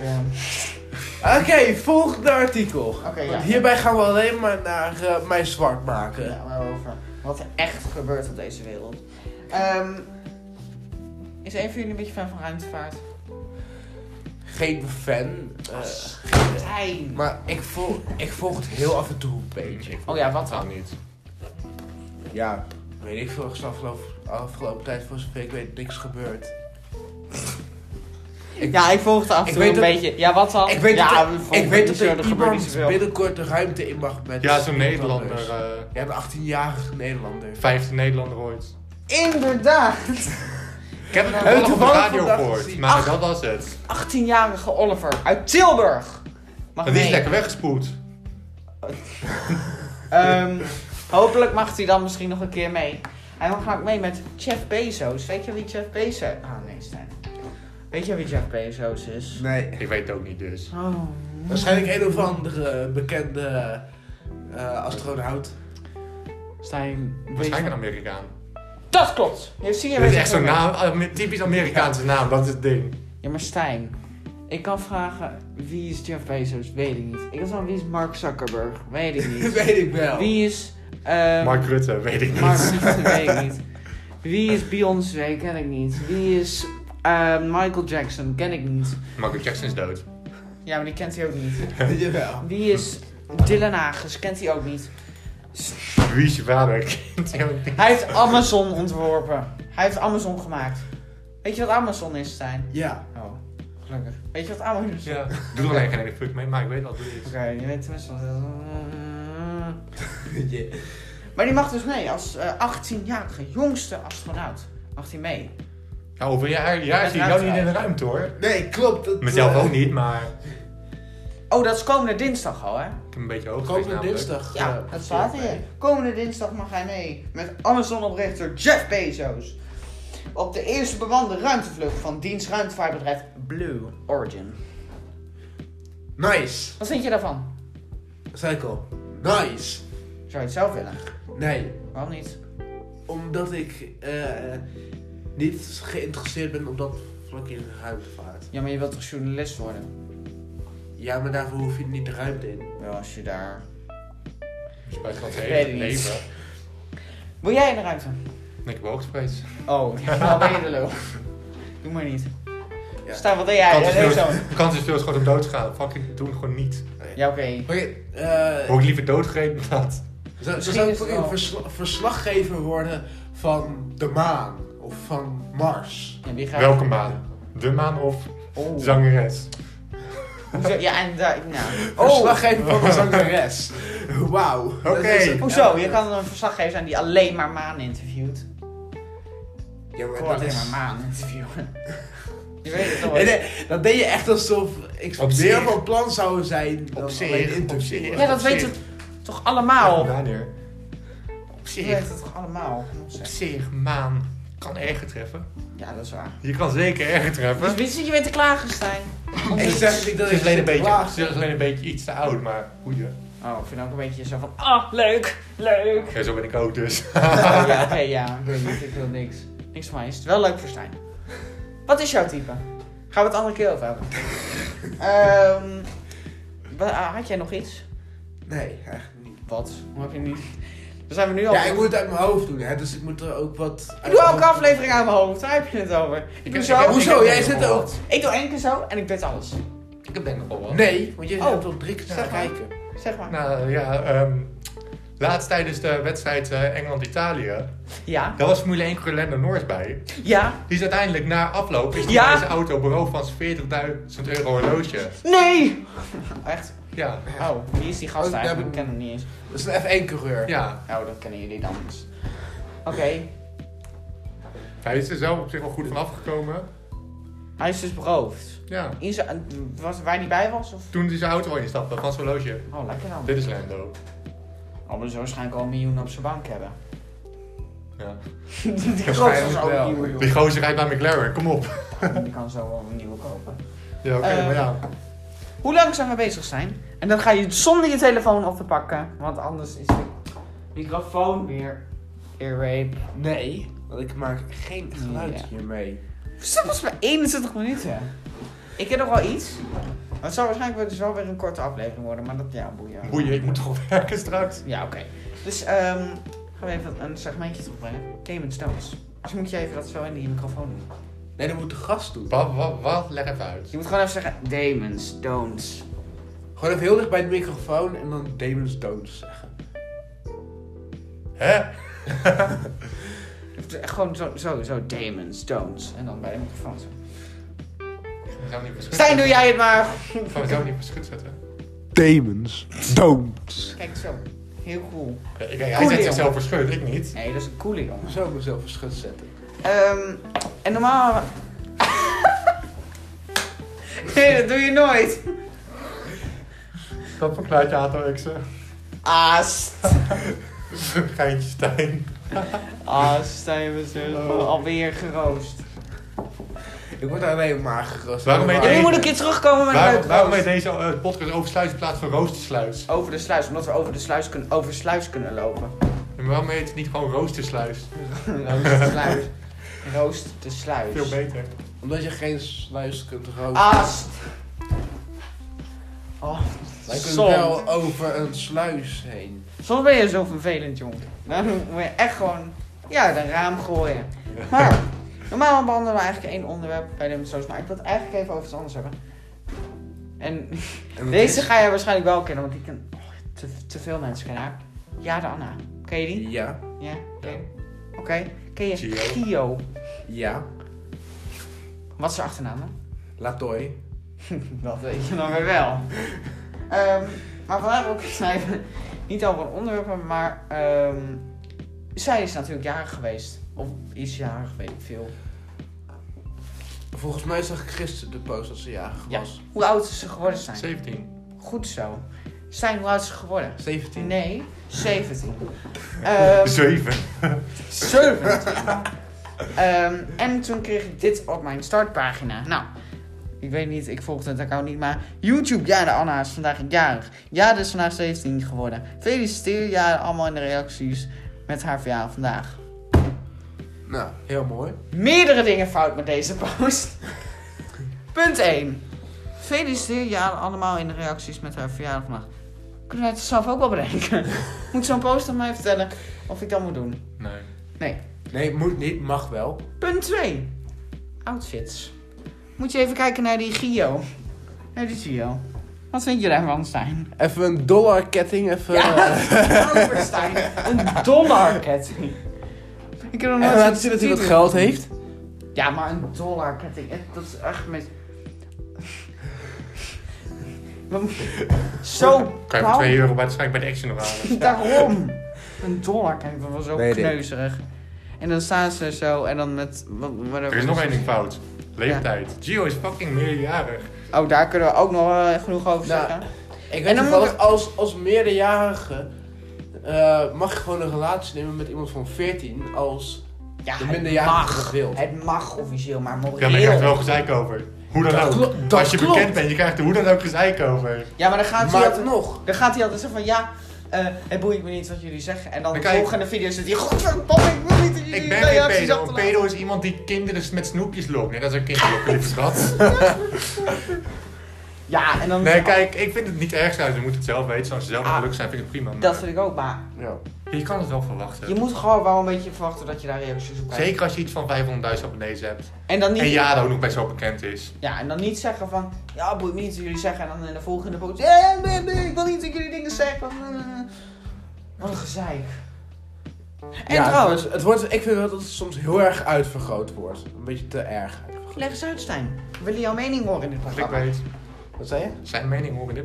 [SPEAKER 3] Ehm,
[SPEAKER 1] Oké, volgende artikel.
[SPEAKER 3] Oké, ja.
[SPEAKER 1] Want hierbij gaan we alleen maar naar eh, mij zwart maken.
[SPEAKER 3] Ja, waarover. Wat er echt gebeurt op deze wereld. Ehm, is een van jullie een beetje fan van ruimtevaart?
[SPEAKER 1] Geen fan. eh,
[SPEAKER 3] Stijn!
[SPEAKER 1] maar ik volg, ik volg het heel af en toe een beetje.
[SPEAKER 3] Oh ja, wat
[SPEAKER 2] Nou,
[SPEAKER 3] dan?
[SPEAKER 2] niet.
[SPEAKER 1] Ja, weet ik veel. Er is afgelopen, afgelopen tijd voor zover ik weet niks gebeurd. Ik-
[SPEAKER 3] Ja, ik volg het af en
[SPEAKER 1] Ik
[SPEAKER 3] toe
[SPEAKER 1] weet
[SPEAKER 3] een
[SPEAKER 1] dat-
[SPEAKER 3] beetje. Ja, wat dan?
[SPEAKER 1] Ik weet
[SPEAKER 3] Oh, ja,
[SPEAKER 1] dat
[SPEAKER 3] we
[SPEAKER 1] er,
[SPEAKER 3] volgen
[SPEAKER 1] ik weet
[SPEAKER 3] niet
[SPEAKER 1] dat
[SPEAKER 3] zo,
[SPEAKER 1] er
[SPEAKER 3] gebeurt niet
[SPEAKER 1] iemand
[SPEAKER 3] zoveel.
[SPEAKER 1] binnenkort de ruimte in mag met
[SPEAKER 2] Ja, zo'n
[SPEAKER 1] Nederlanders.
[SPEAKER 2] Nederlander. eh
[SPEAKER 1] Ja, een 18-jarige Nederlander.
[SPEAKER 2] vijfde Nederlander ooit.
[SPEAKER 3] Inderdaad!
[SPEAKER 2] Ik heb het
[SPEAKER 1] Heb je
[SPEAKER 2] toevallig op de
[SPEAKER 1] toevallig
[SPEAKER 2] radio
[SPEAKER 1] vandaag
[SPEAKER 2] gehoord,
[SPEAKER 1] gezien?
[SPEAKER 2] maar
[SPEAKER 3] Ach.
[SPEAKER 2] dat was het.
[SPEAKER 3] 18-jarige Oliver uit Tilburg!
[SPEAKER 2] Maar
[SPEAKER 3] Mag
[SPEAKER 2] die is
[SPEAKER 3] mee.
[SPEAKER 2] lekker weggespoeld.
[SPEAKER 3] Ehm, hopelijk mag hij dan misschien nog een keer mee. En dan ga ik mee met Jeff Bezos. Weet je wie Jeff Bezos... Ah, nee, Stijn. Weet je wie Jeff Bezos is?
[SPEAKER 1] Nee.
[SPEAKER 2] Ik weet het ook niet dus.
[SPEAKER 3] Oh.
[SPEAKER 1] Waarschijnlijk een of andere bekende eh, astronaut.
[SPEAKER 3] Stijn,
[SPEAKER 2] Waarschijnlijk een Amerikaan.
[SPEAKER 3] Dat klopt! Je ziet je
[SPEAKER 2] Dit is
[SPEAKER 3] weet
[SPEAKER 2] echt
[SPEAKER 3] het
[SPEAKER 2] zo'n
[SPEAKER 3] wel.
[SPEAKER 2] naam, Amer- typisch Amerikaanse naam, dat is het ding.
[SPEAKER 3] Ja, maar Stijn. Ik kan vragen, wie is Jeff Bezos? Weet ik niet. Ik kan zeggen, wie is Mark Zuckerberg? Weet ik
[SPEAKER 1] Dat
[SPEAKER 3] niet.
[SPEAKER 1] weet ik wel.
[SPEAKER 3] Wie is... ehm,
[SPEAKER 2] Mark Rutte, weet ik
[SPEAKER 3] Mark
[SPEAKER 2] niet.
[SPEAKER 3] Zuckerberg? Weet ik niet. Wie is Beyoncé? Ken ik niet. Wie is ehm, Michael Jackson? Ken ik niet.
[SPEAKER 2] Michael Jackson is dood.
[SPEAKER 3] Ja, maar die kent hij ook niet.
[SPEAKER 1] Jawel.
[SPEAKER 3] Wie is Dylan Hagens? Kent hij ook niet.
[SPEAKER 2] Wie is je vader? Kind heel niet.
[SPEAKER 3] Hij heeft Amazon ontworpen. Hij heeft Amazon gemaakt. Weet je wat Amazon is, Stijn?
[SPEAKER 1] Ja.
[SPEAKER 3] Oh, gelukkig. Weet je wat Amazon is?
[SPEAKER 2] ja. Doe er alleen geen ene fuck mee, maar ik weet wat het is.
[SPEAKER 3] Oké, je weet tenminste wat het is.
[SPEAKER 1] Yeah.
[SPEAKER 3] Maar die mag dus mee als eh, 18-jarige jongste astronaut. Mag hij mee?
[SPEAKER 2] Ja, over een jaar, jaar
[SPEAKER 3] Met
[SPEAKER 2] zie ik jou niet
[SPEAKER 3] ruimte.
[SPEAKER 2] in de ruimte hoor.
[SPEAKER 1] Nee, klopt. Dat,
[SPEAKER 2] Mezelf
[SPEAKER 1] eh,
[SPEAKER 2] ook niet, maar
[SPEAKER 3] Oh, dat is komende dinsdag al, hè?
[SPEAKER 2] ik heb een beetje hoog geweest
[SPEAKER 1] Komende
[SPEAKER 2] namelijk.
[SPEAKER 1] dinsdag.
[SPEAKER 3] Ja,
[SPEAKER 1] eh,
[SPEAKER 3] dat staat hier. Komende dinsdag mag hij mee met Amazon-oprichter Jeff Bezos. Op de eerste bemande ruimtevlucht van dienst ruimtevaartbedrijf Blue Origin.
[SPEAKER 1] Nice.
[SPEAKER 3] Wat vind je daarvan?
[SPEAKER 1] Cycle. Nice.
[SPEAKER 3] Zou je het zelf willen?
[SPEAKER 1] Nee,
[SPEAKER 3] Waarom niet?
[SPEAKER 1] omdat ik eh, niet geïnteresseerd ben op dat vlak in de ruimtevaart.
[SPEAKER 3] Ja, maar je wilt toch journalist worden?
[SPEAKER 1] Ja, maar daarvoor hoef je niet de ruimte in.
[SPEAKER 3] Wel, als je daar...
[SPEAKER 2] Dus buitenlands
[SPEAKER 3] Weet
[SPEAKER 2] hele
[SPEAKER 3] ik niet.
[SPEAKER 2] leven.
[SPEAKER 3] Wil jij in de ruimte?
[SPEAKER 2] Ik heb hoogtevrees.
[SPEAKER 3] Oh, ja, nou ben je de lul. Doe maar niet.
[SPEAKER 1] Ja.
[SPEAKER 3] Stijn, wat deed jij?
[SPEAKER 2] Kans
[SPEAKER 3] Ja,
[SPEAKER 2] is
[SPEAKER 3] nee,
[SPEAKER 2] groot.
[SPEAKER 3] zo.
[SPEAKER 2] De kans is veel is gewoon om dood te gaan. Fucking doen gewoon niet.
[SPEAKER 3] Ja, oké.
[SPEAKER 1] Oké, eh,
[SPEAKER 2] Word ik liever doodgereden dan dat.
[SPEAKER 1] zou,
[SPEAKER 3] Misschien
[SPEAKER 1] zou
[SPEAKER 3] is
[SPEAKER 1] ik
[SPEAKER 3] het
[SPEAKER 1] ook een
[SPEAKER 3] wel-
[SPEAKER 1] versla- verslaggever worden van de maan of van Mars?
[SPEAKER 3] En wie gaat...
[SPEAKER 2] Welke maan? De maan of
[SPEAKER 3] Oh.
[SPEAKER 2] zangeres?
[SPEAKER 3] Hoezo? Ja, en daar... Nou.
[SPEAKER 1] Oh, Verslaggever van de zangeres. Wauw. dat
[SPEAKER 2] Oh. Oké.
[SPEAKER 1] is het.
[SPEAKER 3] Hoezo? Je kan een verslaggever zijn die alleen maar maan interviewt.
[SPEAKER 1] Ja, maar
[SPEAKER 3] Gewoon
[SPEAKER 1] dat
[SPEAKER 3] alleen
[SPEAKER 1] is...
[SPEAKER 3] maar maan interviewen. je weet het toch
[SPEAKER 1] Nee,
[SPEAKER 3] wel.
[SPEAKER 1] nee, dat deed eh, je echt alsof ik
[SPEAKER 2] Op
[SPEAKER 1] meer
[SPEAKER 2] zich.
[SPEAKER 1] van plan zou zijn dan
[SPEAKER 2] Op zich,
[SPEAKER 1] alleen
[SPEAKER 2] op zich.
[SPEAKER 1] interviewen.
[SPEAKER 3] Ja, dat
[SPEAKER 2] Op zich.
[SPEAKER 3] weten we toch allemaal?
[SPEAKER 2] Wanneer? Op
[SPEAKER 3] Je
[SPEAKER 2] zich.
[SPEAKER 3] weet het toch allemaal? Kom op,
[SPEAKER 2] Op
[SPEAKER 3] zeg.
[SPEAKER 2] zich, maan. Kan erger treffen.
[SPEAKER 3] Ja, dat is waar.
[SPEAKER 2] Je kan zeker erger
[SPEAKER 3] Dus
[SPEAKER 2] treffen.
[SPEAKER 3] wie zit je weer te klagen, Stijn? Om
[SPEAKER 1] Ik
[SPEAKER 3] iets.
[SPEAKER 1] zeg niet dat
[SPEAKER 2] Ze is
[SPEAKER 1] ik
[SPEAKER 2] alleen een
[SPEAKER 1] zit te
[SPEAKER 2] beetje,
[SPEAKER 1] klagen.
[SPEAKER 2] ze is alleen een beetje iets te oud, maar goeie.
[SPEAKER 3] Oh, ik vind ook een beetje zo van... Ah, leuk, leuk.
[SPEAKER 2] Ja, zo ben ik ook dus.
[SPEAKER 3] Oh, ja, oké, ja. Ik weet niet, ik wil niks. Niks van mij. Is het wel leuk voor Stijn? Wat is jouw type? Gaan we het andere keer over hebben. Ehm, wa- ah, had jij nog iets?
[SPEAKER 1] Nee, eigenlijk niet.
[SPEAKER 3] Wat? Hoe heb je niet? Dan zijn we nu al...
[SPEAKER 1] Ja, ik moet het uit mijn hoofd doen, hè, dus ik moet er ook wat...
[SPEAKER 3] Ik doe elke aflevering uit mijn hoofd. Daar heb je het over. Ik doe
[SPEAKER 2] heb-
[SPEAKER 3] zo.
[SPEAKER 2] heb-
[SPEAKER 1] Hoezo?
[SPEAKER 2] ik heb
[SPEAKER 1] Jij
[SPEAKER 2] denk ik
[SPEAKER 1] zit
[SPEAKER 2] wel
[SPEAKER 1] ook-
[SPEAKER 2] wat.
[SPEAKER 3] Ik doe één keer zo en ik weet alles.
[SPEAKER 2] Ik heb denk ik al wat.
[SPEAKER 1] Nee, want jij
[SPEAKER 3] Oh.
[SPEAKER 1] hebt al drie keer naar
[SPEAKER 3] Zeg maar.
[SPEAKER 1] kijken.
[SPEAKER 3] Zeg maar.
[SPEAKER 2] Nou ja, ehm, laatst tijdens de wedstrijd eh, Engeland-Italië.
[SPEAKER 3] Ja.
[SPEAKER 2] Daar was Formule 1 Corlando Norris bij.
[SPEAKER 3] Ja.
[SPEAKER 2] Die is uiteindelijk na afloop is die
[SPEAKER 3] Ja.
[SPEAKER 2] bij zijn auto beroofd van zijn 40.000 euro horloge.
[SPEAKER 3] Nee! Echt?
[SPEAKER 2] Ja,
[SPEAKER 3] Oh, wie is die
[SPEAKER 1] Oh,
[SPEAKER 3] gast
[SPEAKER 1] daar
[SPEAKER 3] eigenlijk? Ik
[SPEAKER 1] heb ik-
[SPEAKER 3] ken hem niet eens.
[SPEAKER 1] Dat is nou een F1-coureur.
[SPEAKER 2] ja.
[SPEAKER 3] Oh, dat kennen jullie dan. dus. Oké.
[SPEAKER 2] Hij is er zelf op zich wel goed van afgekomen.
[SPEAKER 3] Hij is dus beroofd.
[SPEAKER 2] Ja.
[SPEAKER 3] In zijn- was, waar hij bij was? Of?
[SPEAKER 2] Toen hij zijn auto instapte van zijn horloge.
[SPEAKER 3] Oh, lekker dan.
[SPEAKER 2] Dit is Lando.
[SPEAKER 3] Oh, maar zo waarschijnlijk al een miljoen op zijn bank hebben.
[SPEAKER 2] Ja.
[SPEAKER 3] die kan
[SPEAKER 1] Waarschijnlijk
[SPEAKER 3] zo
[SPEAKER 1] wel.
[SPEAKER 3] een nieuwe
[SPEAKER 2] Die gozer rijdt bij McLaren, kom op.
[SPEAKER 3] doen. Die kan zo wel een nieuwe kopen.
[SPEAKER 2] Ja, oké,
[SPEAKER 3] Eh.
[SPEAKER 2] maar ja.
[SPEAKER 3] Hoe lang zijn we bezig zijn? En dan ga je zonder je telefoon op te pakken. Want anders is de microfoon weer earrape.
[SPEAKER 1] Nee, want ik maak geen geluid
[SPEAKER 3] Ja.
[SPEAKER 1] hiermee.
[SPEAKER 3] Zit pas maar 21 minuten. Ik heb nog wel iets. Maar Het zal waarschijnlijk dus wel weer een korte aflevering worden. Maar dat, ja, boeien.
[SPEAKER 2] Boeien, ik moet toch werken straks.
[SPEAKER 3] Ja, oké. Dus ehm gaan we even een segmentje terugbrengen. Damon Stones. Dus moet je even dat zo in die microfoon doen.
[SPEAKER 1] Nee, dat moet de gast doen.
[SPEAKER 2] Wat, wat, wat? Leg even uit.
[SPEAKER 3] Je moet gewoon even zeggen, Damon Stones.
[SPEAKER 1] Gewoon even heel dicht bij de microfoon en dan Damon's Don'ts zeggen.
[SPEAKER 2] Hè?
[SPEAKER 3] Of echt Gewoon zo, zo, zo, Damon Stones. En dan bij de microfoon zo.
[SPEAKER 2] Ik ga mezelf niet verschut
[SPEAKER 3] Stijn, doe jij het maar!
[SPEAKER 2] Ik ga mezelf niet verschut zetten.
[SPEAKER 1] Damon's Don'ts.
[SPEAKER 3] Kijk zo. Heel cool.
[SPEAKER 2] Ja, ik- hij
[SPEAKER 3] Cool,
[SPEAKER 2] zet
[SPEAKER 3] jongen.
[SPEAKER 2] zichzelf verschut, ik niet.
[SPEAKER 3] Nee, dat is een coole jongen.
[SPEAKER 1] Zo mezelf verschut zetten.
[SPEAKER 3] Ehm, en normaal... nee, dat doe je nooit.
[SPEAKER 2] Dat verklaart je ato-exen.
[SPEAKER 3] Aast.
[SPEAKER 2] Geintje Stijn.
[SPEAKER 3] Ah, Stijn was dus alweer geroost.
[SPEAKER 1] Ik word alleen maar gerust.
[SPEAKER 2] Waarom ben je-
[SPEAKER 3] En nu
[SPEAKER 2] Even.
[SPEAKER 3] moet ik keer terugkomen met een
[SPEAKER 2] Waarom,
[SPEAKER 3] leuke
[SPEAKER 2] waarom heet
[SPEAKER 3] roast.
[SPEAKER 2] deze eh, podcast over sluis in plaats van roostersluis?
[SPEAKER 3] Over de sluis, omdat we over de sluis kunnen, over sluis kunnen lopen.
[SPEAKER 2] En waarom heet het niet gewoon roostersluis?
[SPEAKER 3] Roost de sluis. Roost de sluis.
[SPEAKER 2] Veel beter.
[SPEAKER 1] Omdat je geen sluis kunt roken.
[SPEAKER 3] Aast. Oh,
[SPEAKER 1] Wij kunnen
[SPEAKER 3] soms.
[SPEAKER 1] wel over een sluis heen.
[SPEAKER 3] Soms ben je zo vervelend, jong. Dan moet je echt gewoon, ja, de raam gooien. Maar, normaal behandelen we eigenlijk één onderwerp bij de episodes, maar ik wil het eigenlijk even over iets anders hebben. En
[SPEAKER 1] En dat
[SPEAKER 3] deze
[SPEAKER 1] is-
[SPEAKER 3] ga jij waarschijnlijk wel kennen, want ik ken oh, te, te veel mensen kennen haar. Ja, de Anna. Ken je die?
[SPEAKER 1] Ja,
[SPEAKER 3] Ja. ken je?
[SPEAKER 2] Ja.
[SPEAKER 3] Oké. Ken je
[SPEAKER 2] Gio.
[SPEAKER 3] Gio?
[SPEAKER 1] ja.
[SPEAKER 3] Wat is zijn achternaam dan?
[SPEAKER 1] Latoy.
[SPEAKER 3] Dat weet je dan weer wel. Ehm, maar vandaag ook even niet over een onderwerp, hebben, maar ehm, zij is natuurlijk jarig geweest. Of is jarig, weet ik veel.
[SPEAKER 1] Volgens mij zag ik gisteren de post dat ze jarig
[SPEAKER 3] Ja.
[SPEAKER 1] was.
[SPEAKER 3] Hoe oud is ze geworden zijn?
[SPEAKER 2] 17.
[SPEAKER 3] Goed zo. Zijn, hoe oud is ze geworden?
[SPEAKER 1] 17.
[SPEAKER 3] Nee, 17. Ehm
[SPEAKER 2] 7.
[SPEAKER 3] 17. Ehm, en toen kreeg ik dit op mijn startpagina. Nou, ik weet niet, ik volgde het account niet, maar YouTube, ja, de Anna is vandaag jarig. Ja, is vandaag 17 geworden. Feliciteer, ja, allemaal in de reacties met haar verjaardag vandaag.
[SPEAKER 1] Nou, heel mooi.
[SPEAKER 3] Meerdere dingen fout met deze post. Punt 1. Feliciteer, ja, allemaal in de reacties met haar verjaardag vandaag. Kunnen wij het zelf ook wel bedenken? Moet zo'n post aan mij vertellen of ik dat moet doen?
[SPEAKER 2] Nee.
[SPEAKER 3] Nee.
[SPEAKER 1] Nee, moet niet, mag wel.
[SPEAKER 3] Punt 2. Outfits. Moet je even kijken naar die Gio. Naar die Gio. Wat vind je daarvan, Stijn?
[SPEAKER 1] Even een dollar ketting, even... eh,
[SPEAKER 3] Ja, over Stijn. Een dollarketting. Ik heb nog nooit
[SPEAKER 1] En laten
[SPEAKER 3] zoiets
[SPEAKER 1] zien dat hij wat
[SPEAKER 3] gezien.
[SPEAKER 1] geld heeft.
[SPEAKER 3] Ja, maar een dollarketting. eh, Dat is echt mis... We moeten- Zo
[SPEAKER 2] Kan je voor 2
[SPEAKER 3] koud.
[SPEAKER 2] euro bij de, schijn- bij de action nog halen.
[SPEAKER 3] Daarom. Een dollarketting. Dat was zo
[SPEAKER 1] Nee, dit-
[SPEAKER 3] kneuzerig. En dan staan ze zo en dan met... wat-
[SPEAKER 2] Er is nog één ding fout. Leeftijd. Gio is fucking meerjarig.
[SPEAKER 3] Oh, daar kunnen we ook nog eh, genoeg over
[SPEAKER 1] Nou,
[SPEAKER 3] zeggen.
[SPEAKER 1] Ik
[SPEAKER 3] En
[SPEAKER 1] weet
[SPEAKER 3] dan
[SPEAKER 1] niet,
[SPEAKER 3] moet
[SPEAKER 1] wel, als, als meerderjarige eh, mag je gewoon een relatie nemen met iemand van 14 als
[SPEAKER 3] Ja,
[SPEAKER 1] de
[SPEAKER 3] het
[SPEAKER 1] minderjarige dat
[SPEAKER 3] mag.
[SPEAKER 1] wil.
[SPEAKER 3] Het mag officieel, maar
[SPEAKER 2] Ja,
[SPEAKER 3] moreel.
[SPEAKER 2] maar je krijgt er wel gezeik over. Hoe dan
[SPEAKER 1] Dat
[SPEAKER 2] ook.
[SPEAKER 1] klo- dat
[SPEAKER 2] Als je
[SPEAKER 1] klopt.
[SPEAKER 2] bekend bent, je krijgt er hoe dan ook gezeik over.
[SPEAKER 3] Ja, maar dan gaat hij
[SPEAKER 1] Maar
[SPEAKER 3] altijd,
[SPEAKER 1] nog,
[SPEAKER 3] dan gaat hij altijd zeggen van ja, eh, het boeit me niet wat jullie zeggen. En dan,
[SPEAKER 2] Dan
[SPEAKER 3] de
[SPEAKER 2] kan je-
[SPEAKER 3] volgende video zit hier, godverdomme, ik wil niet dat jullie
[SPEAKER 2] Ik ben geen
[SPEAKER 3] reacties
[SPEAKER 2] pedo. Een
[SPEAKER 3] achterlaten."
[SPEAKER 2] pedo is iemand die kinderen met snoepjes loopt. Nee, dat is een kinderlijke lieve schat.
[SPEAKER 3] Ja, en dan...
[SPEAKER 2] Nee, kijk, ik vind het niet erg. Ze moeten het zelf weten. Als ze zelf
[SPEAKER 3] Ah,
[SPEAKER 2] gelukkig zijn, vind ik het prima. maar
[SPEAKER 3] Dat vind ik ook, maar
[SPEAKER 1] Ja.
[SPEAKER 2] Je kan het wel verwachten.
[SPEAKER 3] je moet gewoon wel een beetje verwachten dat je daar reacties op krijgt.
[SPEAKER 2] Zeker als je iets van 500.000 abonnees hebt.
[SPEAKER 3] En dan niet...
[SPEAKER 2] En ja, dat ook nog best wel bekend is.
[SPEAKER 3] Ja, en dan niet zeggen van, ja, boeit me niet wat jullie zeggen. En dan in de volgende post, ja, nee, nee, ik wil niet dat jullie dingen zeggen. Eh, Wat een gezeik. En
[SPEAKER 1] Ja,
[SPEAKER 3] trouwens,
[SPEAKER 1] Het wordt, ik vind wel dat het soms heel erg uitvergroot wordt. Een beetje te erg uitvergroot.
[SPEAKER 3] leg eens uit, Stijn. We willen jouw mening horen in dit programma.
[SPEAKER 2] Clickbait.
[SPEAKER 1] Wat zei je?
[SPEAKER 2] Zijn mening hoor ik dit.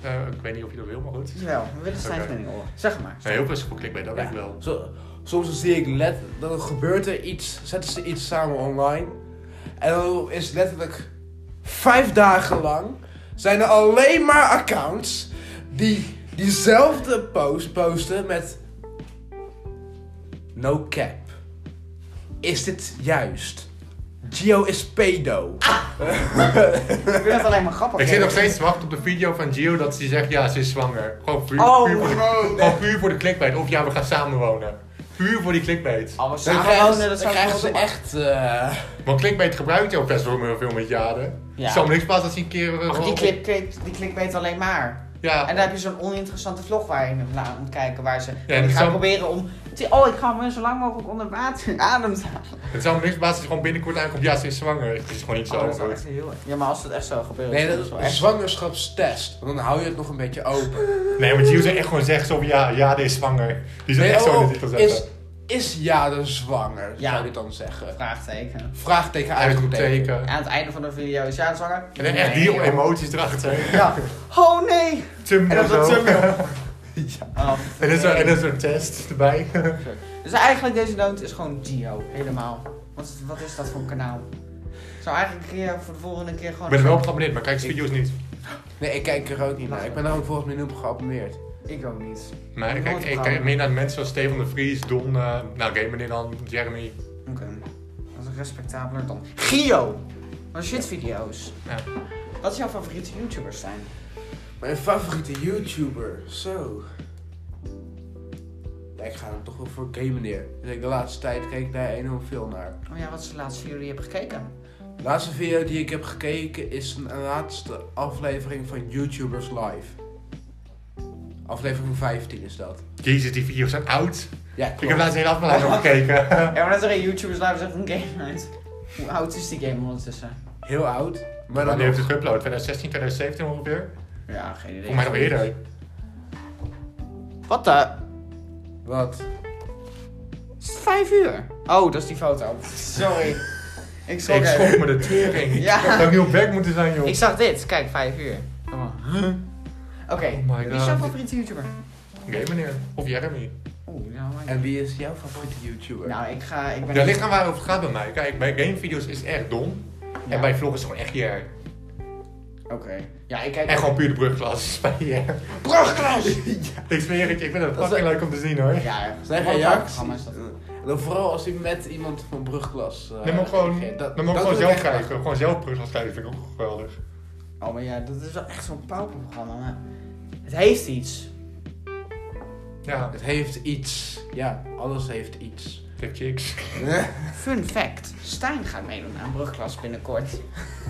[SPEAKER 2] eh, ik weet niet of je dat wil, maar goed.
[SPEAKER 3] Jawel, we willen Stijn's
[SPEAKER 2] Oké.
[SPEAKER 3] mening horen. Zeg maar.
[SPEAKER 2] Nee, heel best voor clickbait, dat weet ik wel.
[SPEAKER 1] Zo, soms dan zie ik let, dan gebeurt er iets, zetten ze iets samen online. En dan is letterlijk vijf dagen lang zijn er alleen maar accounts die diezelfde post posten met no cap. Is dit juist? Gio is pedo.
[SPEAKER 3] Ah, Ik vind het alleen maar grappig.
[SPEAKER 2] Ik zit nog
[SPEAKER 3] hè.
[SPEAKER 2] steeds te wachten op de video van Gio dat ze zegt ja, ze is zwanger. Gewoon puur,
[SPEAKER 3] Oh,
[SPEAKER 2] puur, voor, de,
[SPEAKER 3] nee.
[SPEAKER 2] gewoon puur voor de clickbait. Of ja, we gaan samen wonen. Puur voor die clickbait.
[SPEAKER 3] Oh, we
[SPEAKER 1] Dan
[SPEAKER 3] samen
[SPEAKER 1] krijgen,
[SPEAKER 3] wonen,
[SPEAKER 1] ze-
[SPEAKER 3] dat
[SPEAKER 1] dan
[SPEAKER 3] zou ik
[SPEAKER 1] krijgen
[SPEAKER 3] wel
[SPEAKER 1] ze
[SPEAKER 3] doen.
[SPEAKER 1] echt... eh,
[SPEAKER 2] Want clickbait gebruikt jou best wel veel met jaren.
[SPEAKER 3] Ja.
[SPEAKER 2] Het zal me niks pas als hij een keer... eh,
[SPEAKER 3] Ach, die
[SPEAKER 2] gewoon-
[SPEAKER 3] clip, clip, die clip weet alleen maar.
[SPEAKER 2] Ja.
[SPEAKER 3] En dan heb je zo'n oninteressante vlog waar je naar moet kijken. Waar ze.
[SPEAKER 2] en
[SPEAKER 3] ik
[SPEAKER 2] het
[SPEAKER 3] ga
[SPEAKER 2] zou-
[SPEAKER 3] proberen om. Oh, ik ga me zo lang mogelijk onder water adem te halen.
[SPEAKER 2] Het zal me niks basis gewoon binnenkort aankomt. Ja, ze is zwanger. Het is gewoon niet zo.
[SPEAKER 3] Oh, dat is wel
[SPEAKER 2] goed.
[SPEAKER 3] echt heel. Ja, maar als dat echt zo gebeurt.
[SPEAKER 1] nee,
[SPEAKER 3] dan
[SPEAKER 1] dat is
[SPEAKER 3] wel
[SPEAKER 1] een
[SPEAKER 3] echt.
[SPEAKER 1] zwangerschapstest. Want dan hou je het nog een beetje open.
[SPEAKER 2] Nee, maar Gio zou echt gewoon zeggen zo ja, ja, dit is zwanger. Die zou
[SPEAKER 1] Nee,
[SPEAKER 2] echt zo
[SPEAKER 1] oh,
[SPEAKER 2] in de titel zetten.
[SPEAKER 1] is, is Jade zwanger,
[SPEAKER 3] Ja.
[SPEAKER 1] zou je dan zeggen?
[SPEAKER 3] Vraagteken.
[SPEAKER 1] Vraagteken uitroepteken.
[SPEAKER 2] Uitroepteken.
[SPEAKER 3] Aan het einde van de video is ja zwanger.
[SPEAKER 2] En dan echt die
[SPEAKER 3] joh.
[SPEAKER 2] emoties erachter.
[SPEAKER 3] Ja. Oh nee! En
[SPEAKER 2] Thumbnail
[SPEAKER 3] dat is een
[SPEAKER 2] zo.
[SPEAKER 3] thumbnail. Oh,
[SPEAKER 2] En dan zo-
[SPEAKER 3] nee.
[SPEAKER 2] en dan zo'n test erbij.
[SPEAKER 3] Dus eigenlijk deze noot is gewoon Gio, helemaal. Wat, wat is dat voor een kanaal? Ik zou eigenlijk een keer voor de volgende keer gewoon...
[SPEAKER 2] Ik ben er wel op geabonneerd, maar kijk de video's niet.
[SPEAKER 1] Nee, ik kijk er ook niet naar. Ik ben daar ook volgens mij nu op geabonneerd.
[SPEAKER 3] Ik ook niet.
[SPEAKER 2] Maar ik
[SPEAKER 3] Ik
[SPEAKER 2] kijk,
[SPEAKER 3] word
[SPEAKER 2] ik kijk
[SPEAKER 3] verhouden.
[SPEAKER 2] meer naar de mensen zoals Steven de Vries, Don, eh, nou oké, meneer dan, Jeremy.
[SPEAKER 3] Oké. Dat is respectabeler dan... Gio! Wat shitvideo's.
[SPEAKER 2] Ja.
[SPEAKER 3] Wat is jouw favoriete YouTubers zijn?
[SPEAKER 1] Mijn favoriete YouTuber, zo. Ja, ik ga dan toch wel voor Game Meneer. Dus ik de laatste tijd keek ik daar enorm veel naar.
[SPEAKER 3] Oh ja, wat is de laatste video die je hebt gekeken?
[SPEAKER 1] De laatste video die ik heb gekeken is een laatste aflevering van YouTubers Live. Aflevering 15 is dat.
[SPEAKER 2] Jezus, die video's zijn oud.
[SPEAKER 1] Ja, klopt.
[SPEAKER 2] Ik heb laatst een hele aflevering nog gekeken.
[SPEAKER 3] Ja, maar dat er geen YouTubers live zegt een game uit. Hoe oud is die game ondertussen?
[SPEAKER 1] Heel oud. Maar dan
[SPEAKER 2] Wanneer heeft
[SPEAKER 1] nog.
[SPEAKER 2] het geüpload? 2016, 2017 ongeveer?
[SPEAKER 3] Ja, geen idee.
[SPEAKER 2] Volgens mij nog eerder.
[SPEAKER 3] Wat de...
[SPEAKER 1] Wat?
[SPEAKER 3] Is het vijf uur? Oh, dat is die foto. Sorry. ik schrok
[SPEAKER 2] Ik
[SPEAKER 3] even.
[SPEAKER 2] schrok me de tering.
[SPEAKER 3] Ja.
[SPEAKER 2] Ik had nu op werk moeten zijn, joh.
[SPEAKER 3] Ik zag dit, kijk, 5 uur. Oké,
[SPEAKER 2] Oh my
[SPEAKER 3] wie is jouw
[SPEAKER 2] God.
[SPEAKER 3] favoriete YouTuber?
[SPEAKER 2] Oké, meneer. Of Jeremy.
[SPEAKER 3] Oeh, nou, maar-
[SPEAKER 1] En wie is jouw favoriete YouTuber?
[SPEAKER 3] nou, ik ga. Ik ben
[SPEAKER 2] Daar ligt aan waarover het gaat bij mij. Kijk, bij gamevideo's is het echt dom.
[SPEAKER 3] Ja,
[SPEAKER 2] En bij vlog is het gewoon echt JR.
[SPEAKER 3] Oké. Ja, ik kijk.
[SPEAKER 2] En gewoon puur de brugklas bij JR.
[SPEAKER 3] Brugklas!
[SPEAKER 2] Ik zweer het je, ik vind het
[SPEAKER 1] Dat is-
[SPEAKER 2] fucking leuk om te zien hoor.
[SPEAKER 3] ja,
[SPEAKER 1] Zijn
[SPEAKER 3] wat een
[SPEAKER 1] reacties.
[SPEAKER 3] programma is dat?
[SPEAKER 1] En Eh, dan vooral als hij met iemand van brugklas. eh,
[SPEAKER 2] Dan moet ik gewoon,
[SPEAKER 1] reageert.
[SPEAKER 2] dan moet ik
[SPEAKER 1] wil
[SPEAKER 2] gewoon
[SPEAKER 1] ik
[SPEAKER 2] zelf
[SPEAKER 1] echt
[SPEAKER 2] kijken.
[SPEAKER 1] lachen.
[SPEAKER 2] Gewoon zelf brugklas kijken vind ik ook geweldig.
[SPEAKER 3] Oh, maar ja, dat is wel echt zo'n pauperprogramma. Maar het heeft iets.
[SPEAKER 2] Ja,
[SPEAKER 1] Het heeft iets. Ja, alles heeft iets.
[SPEAKER 2] de chicks.
[SPEAKER 3] Fun fact: Stijn gaat meedoen aan brugklas binnenkort.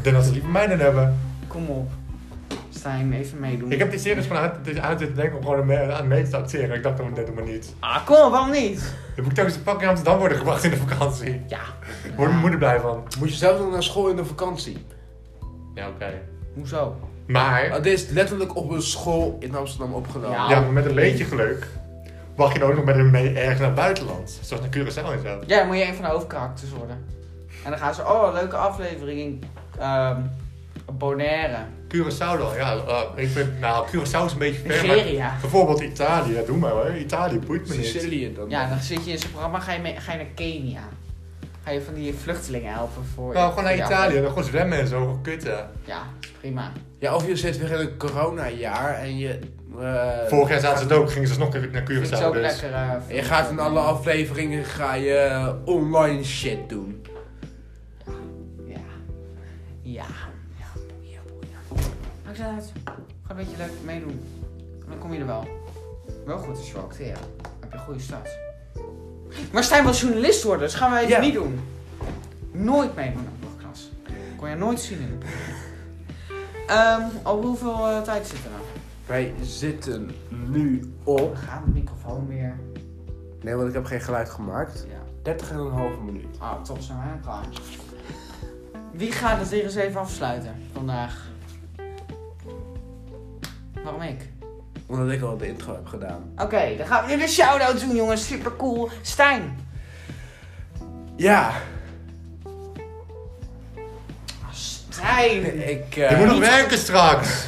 [SPEAKER 2] Dan als ze liever mij dan hebben.
[SPEAKER 3] Kom op. Stijn, even meedoen.
[SPEAKER 2] Ik heb die series van uit, dus uit te denken om gewoon aan me- aan mee te acteren. Ik dacht dat net maar niet.
[SPEAKER 3] Ah, kom op, waarom niet?
[SPEAKER 2] Dan moet ik telkens de pak in Amsterdam worden gebracht in de vakantie.
[SPEAKER 3] Ja.
[SPEAKER 2] Wordt mijn moeder blij van.
[SPEAKER 1] Moet je zelf nog naar school in de vakantie?
[SPEAKER 2] Ja, oké.
[SPEAKER 3] Hoezo?
[SPEAKER 2] Maar,
[SPEAKER 1] Nou, dit is letterlijk op een school in Amsterdam opgenomen.
[SPEAKER 3] Ja.
[SPEAKER 2] ja, maar met een beetje geluk, mag je dan ook nog met hem mee ergens naar het buitenland. Zoals naar Curaçao en zo.
[SPEAKER 3] Ja, dan moet je een van de hoofdkarakters worden. En dan gaan ze, oh, leuke aflevering in ehm, Bonaire.
[SPEAKER 2] Curaçao dan, ja. eh, ik vind, nou, Curaçao is een beetje ver. maar
[SPEAKER 3] Nigeria.
[SPEAKER 2] Bijvoorbeeld Italië, ja, doe maar hoor. Italië boeit me niet.
[SPEAKER 1] Sicilië dan.
[SPEAKER 3] Ja, dan zit je in zo'n programma, ga je, mee, ga je naar Kenia. Ga je van die vluchtelingen helpen voor...
[SPEAKER 2] Nou, gewoon naar
[SPEAKER 3] ja,
[SPEAKER 2] Italië, dan gewoon zwemmen en zo, gewoon kutten.
[SPEAKER 3] Ja, prima.
[SPEAKER 1] Ja, of je zit weer in een corona-jaar en je. eh,
[SPEAKER 2] Vorig jaar zaten ze het ook, gingen ze alsnog naar
[SPEAKER 3] Vind ik
[SPEAKER 2] Curaçao.
[SPEAKER 3] ook
[SPEAKER 2] Dus.
[SPEAKER 3] lekker. eh, voor-
[SPEAKER 1] Je gaat in alle afleveringen ga je eh, online shit doen.
[SPEAKER 3] Ja. Ja. Ja, boeien, boeien. Maakt het uit. Ga een beetje leuk meedoen. Dan kom je er wel. Wel goed als je wil acteren. Dan heb je een goede start. Maar Stijn wil journalist worden, dus gaan wij het
[SPEAKER 1] Ja.
[SPEAKER 3] niet doen. Nooit meedoen aan de klas. Kon je nooit zien in de Ehm, Op hoeveel eh, tijd zit er nou?
[SPEAKER 1] Wij zitten nu op.
[SPEAKER 3] Gaat de microfoon weer?
[SPEAKER 1] Nee, want ik heb geen geluid gemaakt.
[SPEAKER 3] Ja.
[SPEAKER 1] 30,5 minuut.
[SPEAKER 3] Ah, top, zijn we helemaal klaar. Wie gaat het weer eens even afsluiten vandaag? Waarom ik?
[SPEAKER 1] Omdat ik al de intro heb gedaan.
[SPEAKER 3] Oké, dan gaan we nu de shout-out doen, jongens. Super cool. Stijn.
[SPEAKER 1] Ja,
[SPEAKER 3] Stijn.
[SPEAKER 1] ik.
[SPEAKER 2] Je
[SPEAKER 1] eh,
[SPEAKER 2] moet nog werken straks.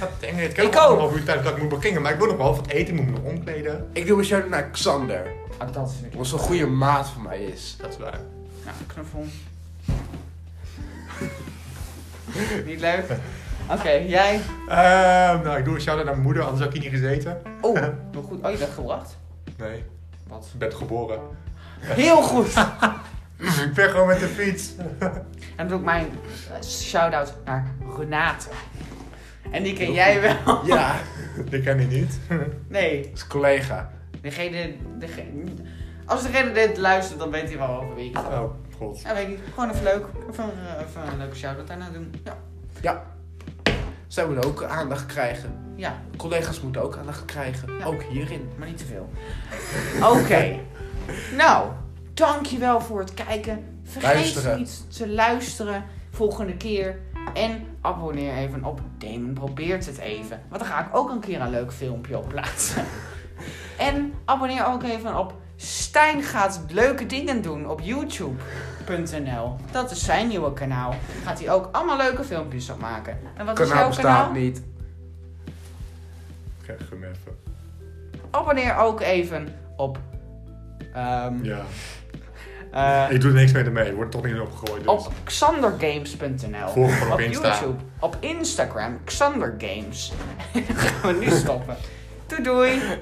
[SPEAKER 2] Dat denk ik. Ik heb
[SPEAKER 3] Ik
[SPEAKER 2] nog
[SPEAKER 3] ook.
[SPEAKER 2] een half uur tijd dat ik moet beginnen, maar ik moet nog wel wat eten, ik moet me nog omkleden.
[SPEAKER 1] Ik doe een shout naar Xander.
[SPEAKER 3] Ah, dat is
[SPEAKER 1] Wat zo'n goede maat van mij is.
[SPEAKER 2] Dat is waar.
[SPEAKER 3] Nou, knuffel. Niet leuk? Oké, jij.
[SPEAKER 2] Ehm, nou, ik doe een shout-out naar mijn moeder, anders had ik hier niet gezeten.
[SPEAKER 3] Oh, heel goed. Oh, je bent gebracht.
[SPEAKER 2] Nee,
[SPEAKER 3] Wat?
[SPEAKER 2] ik ben geboren.
[SPEAKER 3] Heel goed.
[SPEAKER 2] ik ben gewoon met de fiets.
[SPEAKER 3] En doe ik mijn eh, shout-out naar Renate. En die ken jij wel.
[SPEAKER 1] Ja,
[SPEAKER 2] Die ken je niet.
[SPEAKER 3] Nee,
[SPEAKER 1] is collega.
[SPEAKER 3] degene, degene... Als degene dit luistert, dan weet hij wel over wie ik het heb.
[SPEAKER 2] Oh, god.
[SPEAKER 3] Ja, weet ik niet. Gewoon even leuk. Even, een, eh, even een leuke shout-out daarna doen. Ja.
[SPEAKER 1] Zij moeten ook aandacht krijgen.
[SPEAKER 3] Ja,
[SPEAKER 1] Collega's moeten ook aandacht krijgen.
[SPEAKER 3] Ja.
[SPEAKER 1] Ook hierin.
[SPEAKER 3] maar niet te veel. Oké. Nou, dankjewel voor het kijken. Vergeet
[SPEAKER 1] Luisteren.
[SPEAKER 3] niet te luisteren volgende keer. En abonneer even op Damon probeert het even. Want dan ga ik ook een keer een leuk filmpje op plaatsen. en abonneer ook even op Stijn gaat leuke dingen doen op youtube.nl. Dat is zijn nieuwe kanaal. Gaat hij ook allemaal leuke filmpjes op maken. En wat is jouw
[SPEAKER 1] Kanaal
[SPEAKER 3] kanaal?
[SPEAKER 1] bestaat niet.
[SPEAKER 2] Ik krijg hem even.
[SPEAKER 3] Abonneer ook even op. ehm,
[SPEAKER 2] Ja.
[SPEAKER 3] eh,
[SPEAKER 2] Ik doe er niks mee ermee. Ik word er toch niet in opgegooid. Dus.
[SPEAKER 3] op xandergames.nl.
[SPEAKER 2] Volg me op
[SPEAKER 3] op
[SPEAKER 2] Insta.
[SPEAKER 3] YouTube, op Instagram, Xander Games. Dan gaan we nu stoppen. Doei doei!